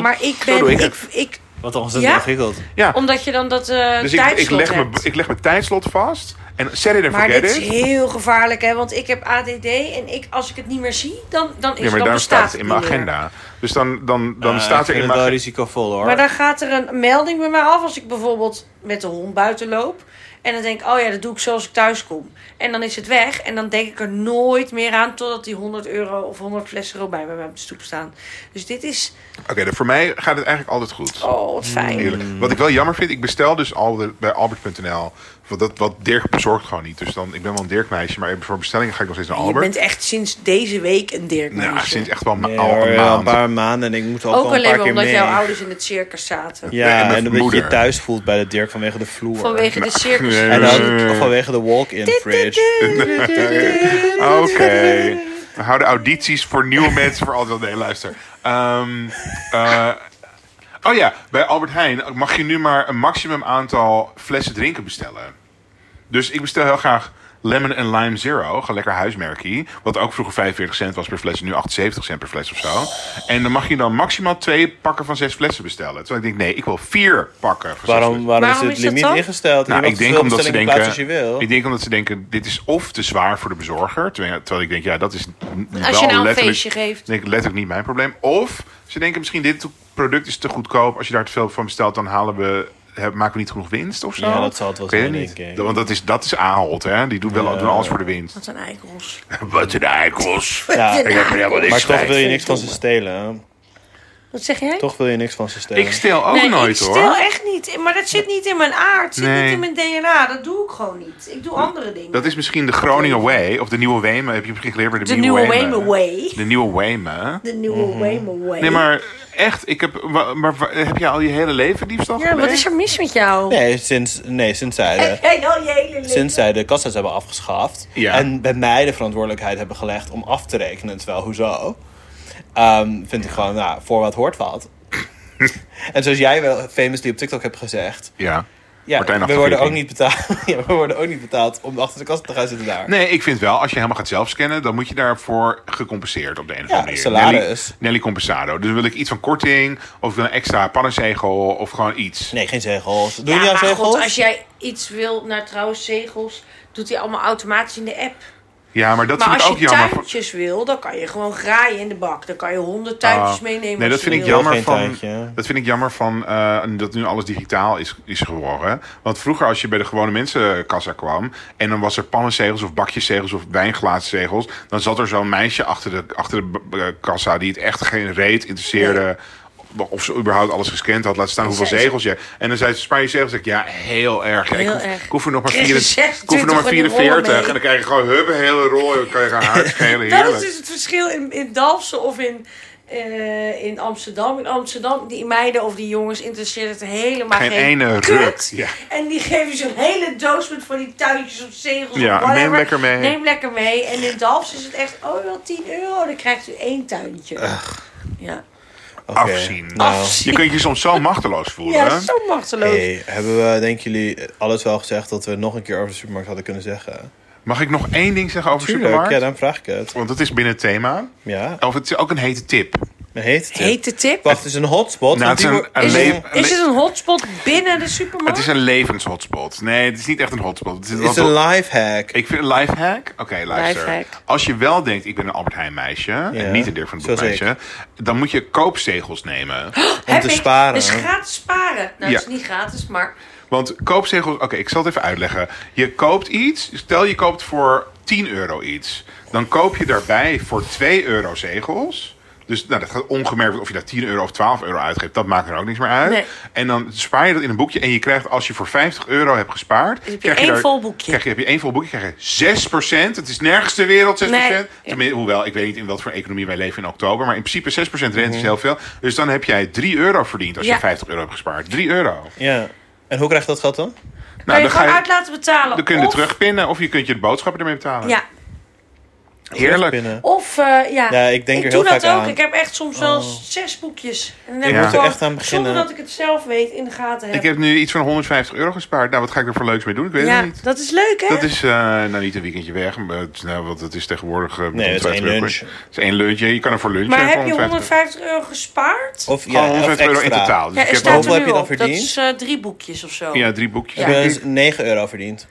Maar ik ben. doe ik ik, ik, het. Wat ontzettend Ja? ingewikkeld. Ja, omdat je dan dat eh Dus ik, tijdslot ik, leg mijn, hebt. ik leg mijn tijdslot vast. En set it and Maar forget dit is it. heel gevaarlijk, hè? Want ik heb ADD en ik, als ik het niet meer zie, dan, dan is Ja, maar dan daarom staat bestaat het in mijn niet meer. agenda. Dus dan, dan, dan Eh, ik staat er vind in mijn het wel agenda... risicovol hoor. Maar dan gaat er een melding bij mij af als ik bijvoorbeeld met de hond buiten loop. En dan denk ik, oh ja, dat doe ik zoals ik thuis kom. En dan is het weg. En dan denk ik er nooit meer aan totdat die 100 euro of 100 flessen robijn bij mij op de stoep staan. Dus dit is, Oké, dan voor mij gaat het eigenlijk altijd goed. oh, wat fijn. Eerlijk. Wat ik wel jammer vind, ik bestel dus al de- bij Albert.nl. Wat, dat, wat Dirk bezorgt gewoon niet. Dus dan, ik ben wel een Dirk-meisje, maar voor bestellingen ga ik nog steeds naar Je Albert. bent echt sinds deze week een Dirk Nou, meisje. sinds echt wel ma- Nee, al hoor, een ja, maand. een paar maanden en ik moet Ook ook, al een paar alleen maar keer omdat mee. jouw ouders in het circus zaten. Nee, en Ja, mijn en omdat je je moeder. thuis voelt bij de Dirk vanwege de vloer. Vanwege de circus. nee, En nee. dan vanwege de walk-in fridge. Oké. We houden audities voor nieuwe mensen voor altijd. wel- Nee, luister. Ehm, eh, oh ja, bij Albert Heijn mag je nu maar een maximum aantal flessen drinken bestellen. Dus ik bestel heel graag Lemon en Lime Zero. Gewoon lekker huismerkie. Wat ook vroeger 45 cent was per fles. en Nu 78 cent per fles of zo. En dan mag je dan maximaal twee pakken van zes flessen bestellen. Terwijl ik denk, nee, ik wil vier pakken van zes Waarom, waarom is Waarom het is dat limiet dan? ingesteld? Je nou, mag ik denk, zoveel omdat ze bestellingen plaatsen als je denken, wil. ik denk omdat ze denken, dit is of te zwaar voor de bezorger. Terwijl, terwijl ik denk, ja, dat is n- wel nou een letterlijk, feestje geeft. Denk, ik, letterlijk niet mijn probleem. Of ze denken, misschien dit product is te goedkoop. Als je daar te veel van bestelt, dan halen we, he- maken we niet genoeg winst of zo. Ja, dat zal het wel Ik weet zijn, niet. denk ik. Dat- Want dat is, dat is Ahold, hè. Die doen, wel, doen alles voor de winst. Wat een eikels. Wat een eikels. Ja, Ik heb er helemaal niks maar toch mee. wil je niks van ze stelen. Wat zeg jij? Toch wil je niks van ze stelen. Ik stel ook nee, nooit, ik hoor. stel echt niet. Maar dat zit niet in mijn aard. Het zit Nee. niet in mijn DNA. Dat doe ik gewoon niet. Ik doe andere dingen. Dat is misschien de Groningen Way. Of de Nieuwe Wemen. Heb je misschien geleerd bij de, de nieuwe Wemen? Wayne Way. De Nieuwe Wemen. De nieuwe Mhm. Wayne Way. Nee, maar echt, ik heb, wa- maar wa- heb jij al je hele leven diefstal Ja, wat gepleegd? is er mis met jou? Nee, sinds, nee, sinds zij de, Hey, al je hele leven. sinds zij de kassa's hebben afgeschaft. Ja. En bij mij de verantwoordelijkheid hebben gelegd om af te rekenen. Terwijl, hoezo? Ehm, vind ik gewoon, nou, voor wat hoort wat. en zoals jij wel famously op TikTok hebt gezegd. Ja. Ja, Martijn we worden, ook Achtervlieging. niet betaald, ja, we worden ook niet betaald om achter de kassa te gaan zitten daar. Nee, ik vind wel, als je helemaal gaat zelfscannen, dan moet je daarvoor gecompenseerd op de een of Ja, andere manier. salaris. Nelly, Nelly Compensado. Dus wil ik iets van korting, of ik wil een extra pannenzegel, of gewoon iets. Nee, geen zegels. Doe Ja, je nou maar zegels? God, als jij iets wil naar trouwens zegels, doet hij allemaal automatisch in de app. Ja, maar dat maar vind ik als ook je jammer. van- tuintjes wil, dan kan je gewoon graaien in de bak. Dan kan je honderd tuintjes Ah, meenemen. Nee, dat als je vind ik wil. jammer Geen van. tuintje. Dat vind ik jammer van eh, dat nu alles digitaal is, is geworden. Want vroeger als je bij de gewone mensenkassa kwam en dan was er pannenzegels of bakjeszegels of wijnglaatzegels, dan zat er zo'n meisje achter de, achter de b- b- kassa die het echt geen reet interesseerde. of ze überhaupt alles gescand had, laat staan hoeveel zei ze- zegels je. En dan zei ze, spaar je zegels. Ik, ja, heel erg. Ja, ik, Heel hoef, erg. ik hoef er nog maar, Krijg je 44, ik hoef er nog maar 26 van die rollen 44. mee. En dan krijg je gewoon hup, een hele rol. En dan kan je gaan uitschelen. Dat is Heerlijk. dus het verschil in, in Dalfsen of in, eh, in Amsterdam. In Amsterdam, die meiden of die jongens interesseert het helemaal geen, Geen ene kut. ruk, ja. En die geven zo'n hele doos met van die tuintjes of zegels Ja, of whatever. neem lekker mee. Neem lekker mee. En in Dalfsen is het echt, oh wel 10 euro, dan krijgt u één tuintje. Ja. Oké. Afzien. Nou, Afzien. Je kunt je soms zo machteloos voelen. ja, hè? zo machteloos. hey, hebben we, denken jullie, alles wel gezegd dat we nog een keer over de supermarkt hadden kunnen zeggen? Mag ik nog één ding zeggen over Tuurlijk, supermarkt? ja, dan vraag ik het. Want dat is binnen het thema. Ja, Of het is ook een hete tip. een hete tip. Hete tip. Wacht, het is een hotspot. Nou, want het is die een, wordt- een Is, le- het, is het een hotspot binnen de supermarkt? Het is een levenshotspot. Nee, het is niet echt een hotspot. Het is, is een lifehack. Ik vind een lifehack. Oké, luister. Lifehack. Als je wel denkt, ik ben een Albert Heijn meisje en niet een Dirk van het Broek zoals meisje, dan moet je koopzegels nemen. Heb te ik. sparen. Dus gratis sparen. Nou, Ja. Nou, het is niet gratis, maar... Want koopzegels, oké, ik zal het even uitleggen. Je koopt iets, stel je koopt voor 10 euro iets. Dan koop je daarbij voor 2 euro zegels. Dus nou, dat gaat ongemerkt of je daar 10 euro of 12 euro uitgeeft. Dat maakt er ook niks meer uit. Nee. En dan spaar je dat in een boekje. En je krijgt, als je voor 50 euro hebt gespaard... Dus heb je krijg één daar- vol boekje. Krijg je, heb je één vol boekje, krijg je 6%. Het is nergens ter wereld 6%. Nee. Tenminste, hoewel, ik weet niet in wat voor economie wij leven in oktober. Maar in principe 6% rente is heel veel. Dus dan heb jij 3 euro verdiend als Mhm. Ja. je 50 euro hebt gespaard. 3 euro. Nou, Ja. En hoe krijg je dat geld dan? kan je dan gewoon ga uit laten betalen. dan kun je het Of- terugpinnen of je kunt je de boodschappen ermee betalen. Ja, Heerlijk. Binnen. Of eh, ja. Ja, ik denk er doe heel dat vaak ook. aan. Ik heb echt soms wel Oh. zes boekjes. En dan heb Ik ik moet er gewoon, echt aan beginnen. Zonder dat ik het zelf weet in de gaten heb. Ik heb nu iets van 150 euro gespaard. Nou, wat ga ik er voor leuks mee doen? Ik weet ja, het niet. dat is leuk hè? Dat is eh, nou niet een weekendje weg, maar het, is- nou, want het is tegenwoordig... eh, Nee, het is 150 één euro. lunch. Het is één lunch. ja, Je kan er voor lunchen. maar voor heb je 150 euro gespaard? Of, Gewoon ja, of 150 euro in extra. totaal. Oh, ja, Dus ik er heb staat Hoeveel er heb nu je dan op. verdiend? Dat is eh, drie boekjes of zo. ja, drie boekjes. Ik Ja. ben dus 9 euro verdiend.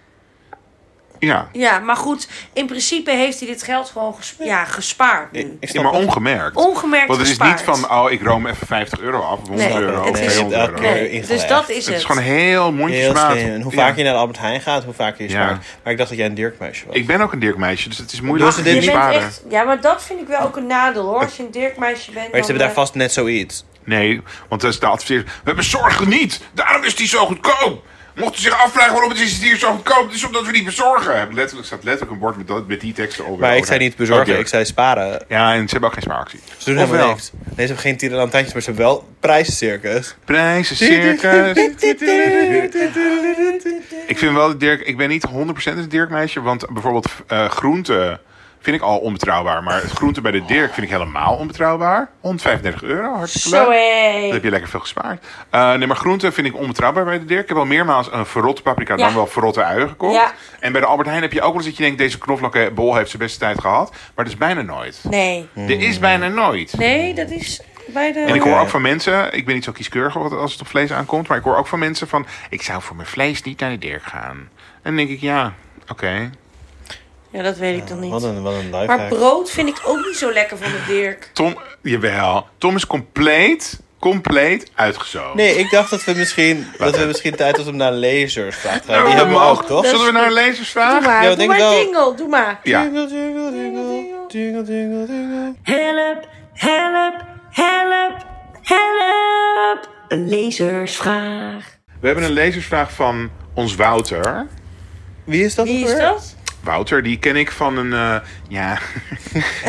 Ja. Ja, maar goed, in principe heeft hij dit geld gewoon ges- ja, gespaard nu. Ik Ja, snap maar het. ongemerkt. Ongemerkt Want het is gespaard. niet van, oh, ik room even 50 euro af. Of 100 Nee, euro. het Of is- 200 euro. elke keer Nee, dus ingelegd. dat is Het het. is gewoon heel Heel mondjesmaat. slim. En hoe Ja. vaak je naar de Albert Heijn gaat, hoe vaker je Ja. spaart. Maar ik dacht dat jij een Dirkmeisje was. Ik ben ook een Dirk-meisje, dus het is moeilijk Doen ze dit te Je niet bent sparen. echt, ja, maar dat vind ik wel ook een nadeel hoor. Als je een Dirkmeisje bent. maar ze dan, hebben daar eh, vast net zoiets. Nee, want dat is de adverteer. We hebben zorgen niet. Daarom is die zo goedkoop. Mochten ze zich afvragen waarom het is hier zo goedkoop, het is omdat we niet bezorgen. Letterlijk staat letterlijk een bord met, dat, met die teksten over. Oh, Maar ik zei niet bezorgen, ik zei sparen. Ja, en ze hebben ook geen spaaractie. Ze doen helemaal Ofwel. niks. Nee, ze hebben geen tierenlantijntjes, maar ze hebben wel prijscircus. Prijzen, circus. ik vind wel, dat Dirk, ik ben niet 100% een Dirk-meisje, want bijvoorbeeld eh groente vind ik al onbetrouwbaar. Maar het groente bij de Dirk vind ik helemaal onbetrouwbaar. 135 euro, hartstikke leuk. Zo hé. Dan heb je lekker veel gespaard. Eh, nee, maar groenten vind ik onbetrouwbaar bij de Dirk. Ik heb al meermaals een verrotte paprika, Ja. dan wel verrotte uien gekocht. Ja. En bij de Albert Heijn heb je ook wel eens dat je denkt... deze knoflookenbol heeft zijn beste tijd gehad. Maar dat is bijna nooit. Nee. Hmm. Er is bijna nooit. Nee, dat is bij de. Hm. En ik hoor Oké. ook van mensen, ik ben niet zo kieskeurig wat- als het op vlees aankomt... maar ik hoor ook van mensen van... ik zou voor mijn vlees niet naar de Dirk gaan. En dan denk ik, ja, oké. Ja, dat weet ik dan niet. Wat een, wat een Maar lifehack. brood vind ik ook niet zo lekker van de Dirk. Tom, jawel. Tom is compleet, compleet uitgezoogd. Nee, ik dacht dat we misschien, dat we misschien tijd hadden om naar lasers te gaan. Nou, Die hebben we ook, toch? Zullen we naar een lezersvraag? Doe maar, Ja, doe denk maar ik wel. jingle, doe maar. Ja. Jingle, jingle, jingle, jingle, jingle, jingle. Help, help, help, help. Een lezersvraag. We hebben een lezersvraag van ons Wouter. Wie is dat Wie ook is weer? dat? Wouter, die ken ik van een. eh, ja.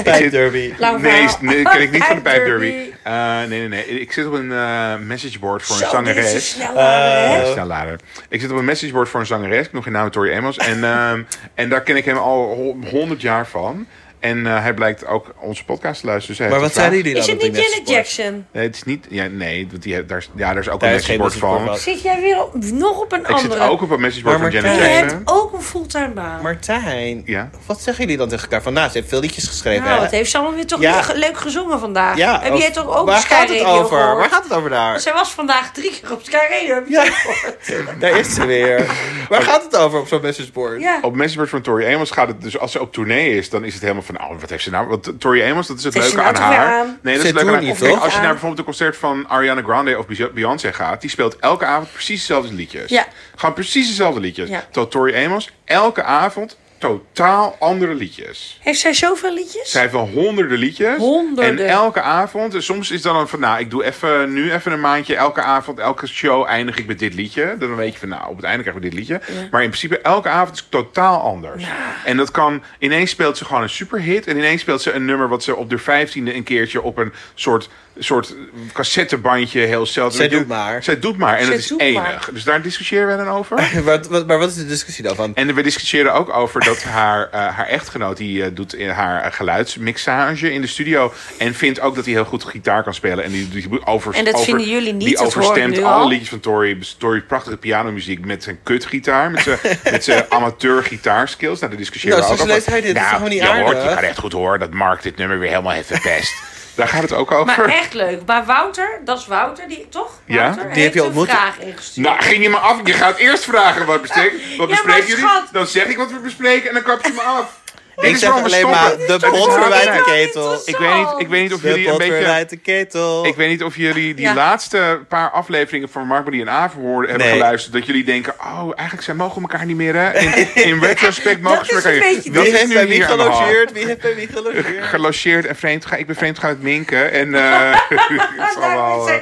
Pijp derby. Lang nee, verhaal. nee, ken ik niet van de Pijpderby. pijpderby. Eh nee, nee, nee. Ik zit op een eh, messageboard voor een Zo, dit is dus een zangeres. Eh, snelle, hè? Ja, snel later. Ik zit op een messageboard voor een zangeres. Ik nog geen naam Tori Amos. En, ehm, en daar ken ik hem al ho- 100 jaar van. En eh, hij blijkt ook onze podcast te luisteren. Dus hij Maar heeft wat een vraag. zeiden jullie Is dan? het op die niet Janet messageboard? Jackson? Nee, het is niet. Ja, nee, want die, daar, is- ja, daar is ook Daar een is geen messageboard van. messageboard Zit jij weer op, nog op een Ik andere? zit ook op een messageboard Maar van Janet Je Martijn- Jackson. hebt ook een fulltime baan. Martijn, Ja? wat zeggen jullie dan tegen elkaar? Van, nou, ze heeft veel liedjes geschreven. nou, hè? wat heeft ze allemaal weer toch Ja. weer ge- leuk gezongen vandaag? Ja, Heb of- jij toch ook Waar Sky gaat het Radio over? gehoord? Waar gaat het over daar? Zij was vandaag drie keer op Sky Radio. Heb je Ja. het ook gehoord? Daar is ze weer. Waar Oh. gaat het over op zo'n messageboard? Ja. Op Messengers van Tori Amos gaat het dus als ze op tournee is, dan is het helemaal van, oh, wat heeft ze nou? Want Tori Amos, dat is het Heeft ze leuke aan nou toch weer haar. aan? Nee, dat Ze is het leuke doet aan niet, Kijk, toch? Als je naar Aan. bijvoorbeeld een concert van Ariana Grande of Beyo- Beyoncé gaat, die speelt elke avond precies dezelfde liedjes. Ja. Gewoon precies dezelfde liedjes. Ja. Terwijl Tori Amos elke avond totaal andere liedjes. Heeft zij zoveel liedjes? Zij heeft wel honderden liedjes. Honderden. En elke avond, en soms is dan een van, nou, ik doe even nu even een maandje. Elke avond, elke show eindig ik met dit liedje. Dan weet je van, nou, op het einde krijgen we dit liedje. Maar in principe, elke avond is totaal anders. En dat kan, ineens speelt ze gewoon een superhit. En ineens speelt ze een nummer wat ze op de vijftiende een keertje op een soort, soort cassettebandje heel zelden. Zij Weet je, doet maar. Zij doet maar. En Zij het is doet maar. enig. Dus daar discussiëren wij dan over. Wat, wat, maar wat is de discussie dan van? En we discussiëren ook over dat haar, eh, haar echtgenoot... die eh, doet in haar eh, geluidsmixage in de studio... en vindt ook dat hij heel goed gitaar kan spelen. En, die, die over, En dat over- vinden jullie niet, Die dat hoor ik overstemt nu alle al. liedjes van Tori. Tori prachtige pianomuziek met zijn kutgitaar. Met zijn, met zijn amateur gitaarskills. Nou, daar discussiëren Nou, we ook zo leest hij dit. Dat is Nou, toch je gewoon niet hoort, je aardig? kan echt goed horen dat Mark dit nummer weer helemaal heeft verpest. daar gaat het ook over. Maar echt leuk. Maar Wouter, dat is Wouter, die, toch? Ja, Wouter, die heeft heb je ontmoet. een vraag ingestuurd. Nou, ging je me af. Je gaat eerst vragen wat, bestek, wat Ja, maar bespreken jullie. schat. Dan zeg ik wat we bespreken en dan kap je me af. Dit Ik is zeg waarom we alleen maar stoppen. de Dit is pot waarom we verwijt stoppen. de ketel. Ik weet niet, ik weet niet of De jullie een pot beetje... verwijt de ketel. Ik weet niet of jullie die Ja. laatste paar afleveringen van Mark Marie en Aver hoorden hebben Nee. geluisterd. Dat jullie denken, oh, eigenlijk zijn mogen elkaar niet meer, hè? In, in retrospect mogen Dat ze is elkaar een niet. beetje Dat Wie is heeft nu bij wie hier aan de hand. gelogeerd? Wie heeft bij wie gelogeerd? Gelogeerd en vreemd. ga- Ik ben vreemd gaan met Minken. En eh het Ah, is allemaal... eh,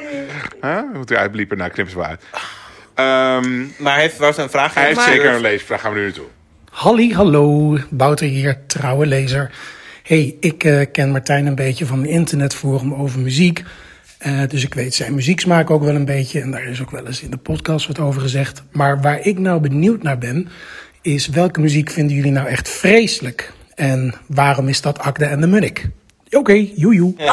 huh? Hoe het eruit liep, nou knippen ze wel uit. Ehm, Maar heeft was een vraag hij heeft ingestuurd? zeker een leesvraag. Gaan we nu naartoe. Halli, hallo, Wouter hier, trouwe lezer. hey, ik eh, ken Martijn een beetje van een internetforum over muziek. Eh, dus ik weet zijn muzieksmaak ook wel een beetje. En daar is ook wel eens in de podcast wat over gezegd. Maar waar ik nou benieuwd naar ben, is welke muziek vinden jullie nou echt vreselijk? En waarom is dat Akda en de Munnik? Oké, joejoe. Oh,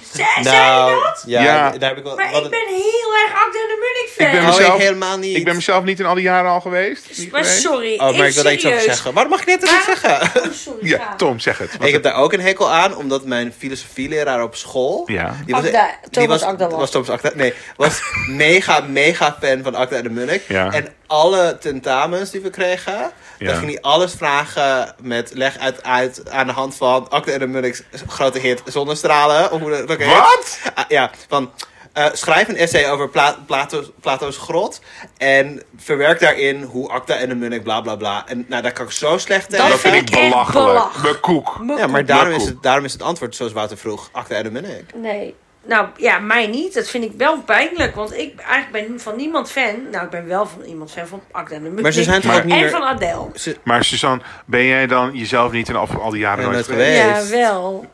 ze- zei je Nou, dat? ja, Ja. daar heb ik wel... Maar wat- ik ben heel erg Akda en de Munnik fan. Ik ben, Oh, ik mezelf, helemaal niet. ik ben mezelf niet in al die jaren al geweest. Niet maar geweest. sorry, Oh, maar ik wil daar iets serieus. over zeggen. Waarom mag ik net niet Maar- zeggen? Oh, sorry, Ja, Tom, zeg het. Wat- Ik heb daar ook een hekel aan, omdat mijn filosofieleraar op school... Ja. Die was, Akda, die Thomas was, Akda was. was Thomas Akda. Nee, was mega, mega fan van Akda en de Munnik. Ja. En alle tentamens die we kregen, Ja. dan ging hij alles vragen met leg uit, uit aan de hand van Akda en de Munnik's grote hit Zonnestralen. Of hoe dat ook heet. Wat? Ah, ja, van... eh, schrijf een essay over Pla- Plato's, Plato's grot. En verwerk daarin hoe Akda en de Munnik bla bla bla. En nou, daar kan ik zo slecht tegen. Dat vind vind ik ik echt belachelijk. belach. Mijn koek. Ja, maar daarom is, koe. het, daarom is het antwoord, zoals Wouter vroeg, Acta en de Munnik. Nee. Nou ja, mij niet. Dat vind ik wel pijnlijk. Want ik eigenlijk ben van niemand fan. Nou, ik ben wel van iemand fan van Akda en de Munnik. Maar ze zijn toch Maar- ook niet En meer... van Adele. Maar Suzanne, ben jij dan jezelf niet in al, al die jaren Ja, nooit nooit geweest? geweest. Ja, Feest. wel.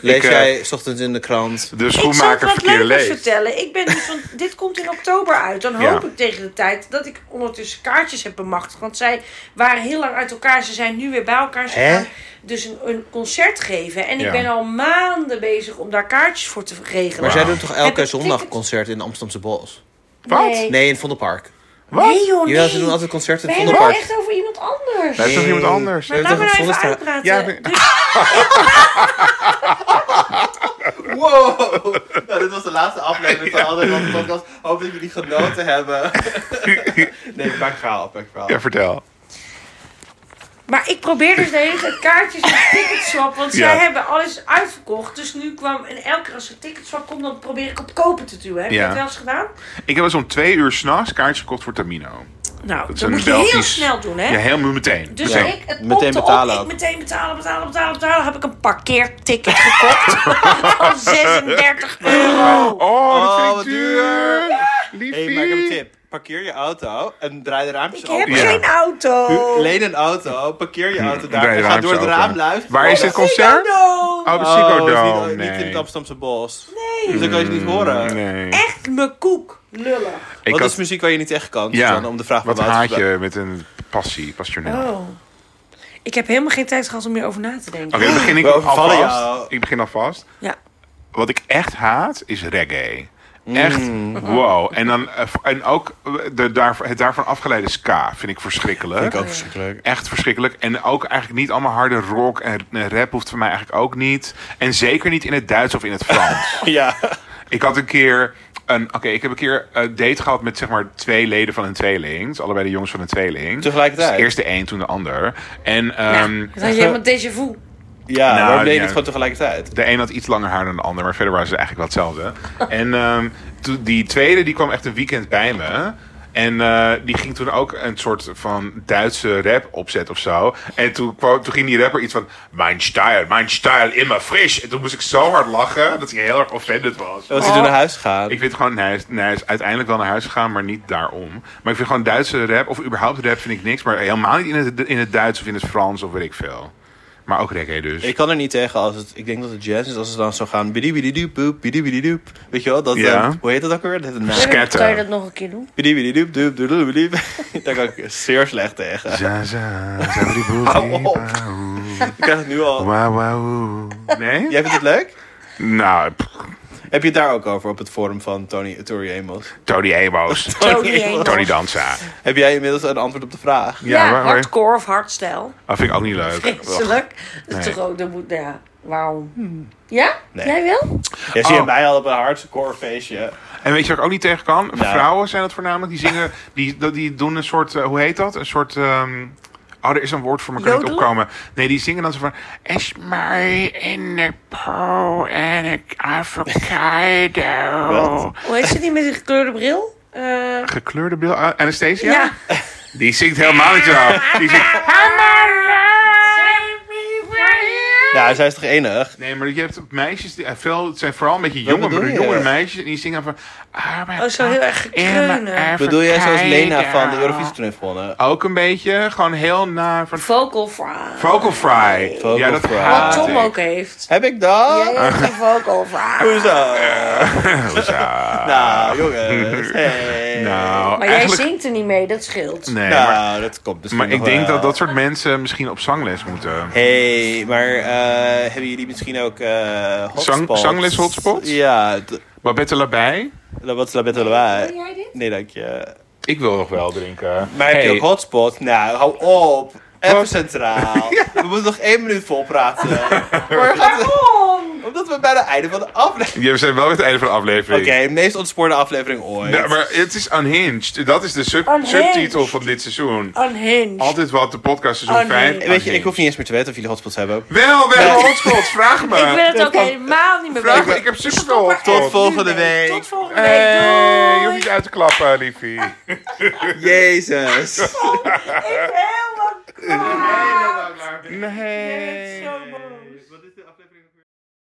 Lees Ik, eh, jij 's ochtends in de krant... De Ik zal het schoenmaker wat verkeerde leukers lees. vertellen. Ik ben dus van, dit komt in oktober uit. Dan Ja. hoop ik tegen de tijd dat ik ondertussen kaartjes heb bemachtigd. Want zij waren heel lang uit elkaar. Ze zijn nu weer bij elkaar. Ze Hè? gaan dus een, een concert geven. En Ja. ik ben al maanden bezig om daar kaartjes voor te regelen. Maar zij doen toch Heb elke ik zondag een ticket? concert in de Amsterdamse Bos? Wat? Nee, Nee, in het Vondelpark. Wat? Nee, joh, nee. Jawel, ze doen altijd concerten We in het hebben het Vondelpark. nou echt over iemand anders. Dat is toch Nee. iemand anders? Maar we laat me hebben nou toch even zondag- uitpraten. Ja, ik- Dus- Wow! Nou, dit was de laatste aflevering van Andere Rand Podcast. Hoop dat jullie genoten hebben. nee, pak verhaal, pak verhaal. Ja, vertel. Maar ik probeer dus de hele tijd kaartjes en ticketswap. Want zij Ja. hebben alles uitverkocht. Dus nu kwam... En elke keer als er ticketswap komt, dan probeer ik op kopen te duwen. Heb je Ja. dat wel eens gedaan? Ik heb eens om twee uur s'nachts kaartjes gekocht voor Tamino. Nou, dat, is een moet je heel Belgisch- snel doen, hè? Ja, helemaal meteen. Dus Meteen. ik, het Meteen popte betalen op, ook. ik meteen betalen, betalen, betalen, betalen. Heb ik een parkeerticket gekocht. Van 36 euro. Oh, dat Oh, vind ik wat duur. Liefie. Hey, maak hem een tip. Parkeer je auto en draai de raampjes Ik open. heb Ja. geen auto. Leen een auto, parkeer je auto daar Draai en de ga door het raampjes raam open. luisteren. Waar is dit concert? Auto. Oh, de Oh, Psycho het is niet- Dome. Niet, in Nee. het Amsterdamse bos. Nee. Dus dan kan je het niet horen. Mm, Nee. Echt mijn koek. Lullig. Ik Wat had- is muziek waar je niet tegen kan? ja, Suzanne, om de vraag wat van Wouter te haat je met een passie, passioneel. Oh. Ik heb helemaal geen tijd gehad om meer over na te denken. Oké, dan begin ik We overvallen jou. alvast. Ik begin alvast. Ja. Wat ik echt haat is reggae. Mm. Echt, Oh. wow. En, dan, eh, en ook de, daar, het daarvan afgeleide ska vind ik verschrikkelijk. Vind ik ook verschrikkelijk. Echt verschrikkelijk. En ook eigenlijk niet allemaal harde rock en eh, rap hoeft van mij eigenlijk ook niet. En zeker niet in het Duits of in het Frans. Ja. Ik had een keer een. Oké, ik heb een keer een date gehad met zeg maar twee leden van een tweeling. Dus allebei de jongens van een tweeling. Tegelijkertijd? Dus eerst de een, toen de ander. En ehm, Dan had je helemaal déjà vu. Ja, Nou, waarom deed je ja. het gewoon tegelijkertijd? de een had iets langer haar dan de ander, maar verder waren ze eigenlijk wel hetzelfde. en ehm, toen- die tweede die kwam echt een weekend bij me. En eh, die ging toen ook een soort van Duitse rap opzetten of zo. En toen, kwam, toen ging die rapper iets van... Mijn style, mijn style, immer fris. En toen moest ik zo hard lachen dat hij heel erg offended was. Dat hij toen naar huis gaat. Ik vind gewoon naar huis, naar huis- uiteindelijk wel naar huis gaan, maar niet daarom. Maar ik vind gewoon Duitse rap, of überhaupt rap vind ik niks. Maar helemaal niet in het, in het Duits of in het Frans of weet ik veel. Maar ook reggae dus. Ik kan er niet tegen als het. Ik denk dat het jazz is als ze dan zo gaan. bidibididoep, bidibididoep. Weet je wel? Dat, Ja. eh, hoe heet dat ook weer? Dat Kun je naam. dat- Scatter. Kan je dat nog een keer doen? Bidibididoep, doep, doep, doep, doep. Daar kan ik zeer slecht tegen. Za, za, za, brie, boe, Hou brie, op. bau. Ik krijg het nu al. Wauw, wauw. Nee? Jij vindt het leuk? Nou, pff, Heb je het daar ook over op het forum van Tony Tori Amos? Tony Amos. Tony Amos. Tony Danza. Heb jij inmiddels een antwoord op de vraag? Ja, waar- waar- hardcore of hardstyle. Dat vind ik ook niet leuk. Vreselijk. Dat is Nee. toch ook, dat moet, nou ja, waarom? Ja? Nee. Jij wel? Jij zie je Oh. mij al op een hardcore feestje. En weet je waar ik ook niet tegen kan? Nou. Vrouwen zijn dat voornamelijk. Die zingen, die, die doen een soort, eh, hoe heet dat? Een soort, ehm, oh er is een woord voor me, kan niet Jodelen? opkomen. Nee, die zingen dan zo van, is mij in de po en ik avocado. Hoe heet ze die met die gekleurde bril? Eh, Gekleurde bril, Ah, Anastasia? ja. Die zingt helemaal niet zo. Die zingt, Nou, zij is toch enig? nee, maar je hebt meisjes, die, eh, veel, het zijn vooral een beetje jonge, bedoel je? jonge meisjes. En die zingen van, ah, maar Oh, zo heel erg gekreunen. Bedoel jij zoals Lena van de Eurovisie toen heeft gewonnen? nou." Ook een beetje, gewoon heel naar van... Vocal fry. Vocal fry. Vocal ja, dat fry. Wat haat Tom ik. ook heeft. Heb ik dat? Jij hebt een vocal fry. Hoezo? Hoezo? Nou, jongens. Hey. nou, Maar jij eigenlijk... zingt er niet mee, dat scheelt. Nee, maar, Nou, dat komt dus maar ik denk dat dat soort mensen misschien op zangles moeten. Hey, maar eh, hebben jullie misschien ook eh hotspots? Zang- zangles hotspots? Ja, d- Babette Labai? wat is dat met lawaai? jij dit? Nee, dank je. Ik wil nog wel drinken. Maar heb je Hey, ook hotspots? Nou, hou op. Even centraal. We moeten nog één minuut vol praten. Waarom? Omdat we bij het einde van de aflevering... ja, we zijn wel weer het einde van de aflevering. Oké, meest ontspoorde aflevering ooit. Ja, maar het is Unhinged. Dat is de sub- Unhinged. subtitel van dit seizoen. Unhinged. Altijd wat, de podcast seizoen Unhinged. 5. Weet je, ik hoef niet eens meer te weten of jullie hotspots hebben. Wel, we hebben hotspots. Vraag me. Ik wil het ook kan- helemaal niet meer eh, Vraag me. weten. Ik heb superveel Stop er echt hotspots. Tot volgende nu mee. week. Tot volgende week. Hey, Eh, je hoeft doei. niet uit te klappen, liefie. Jezus. Ik ben helemaal klaar. Nee. Zo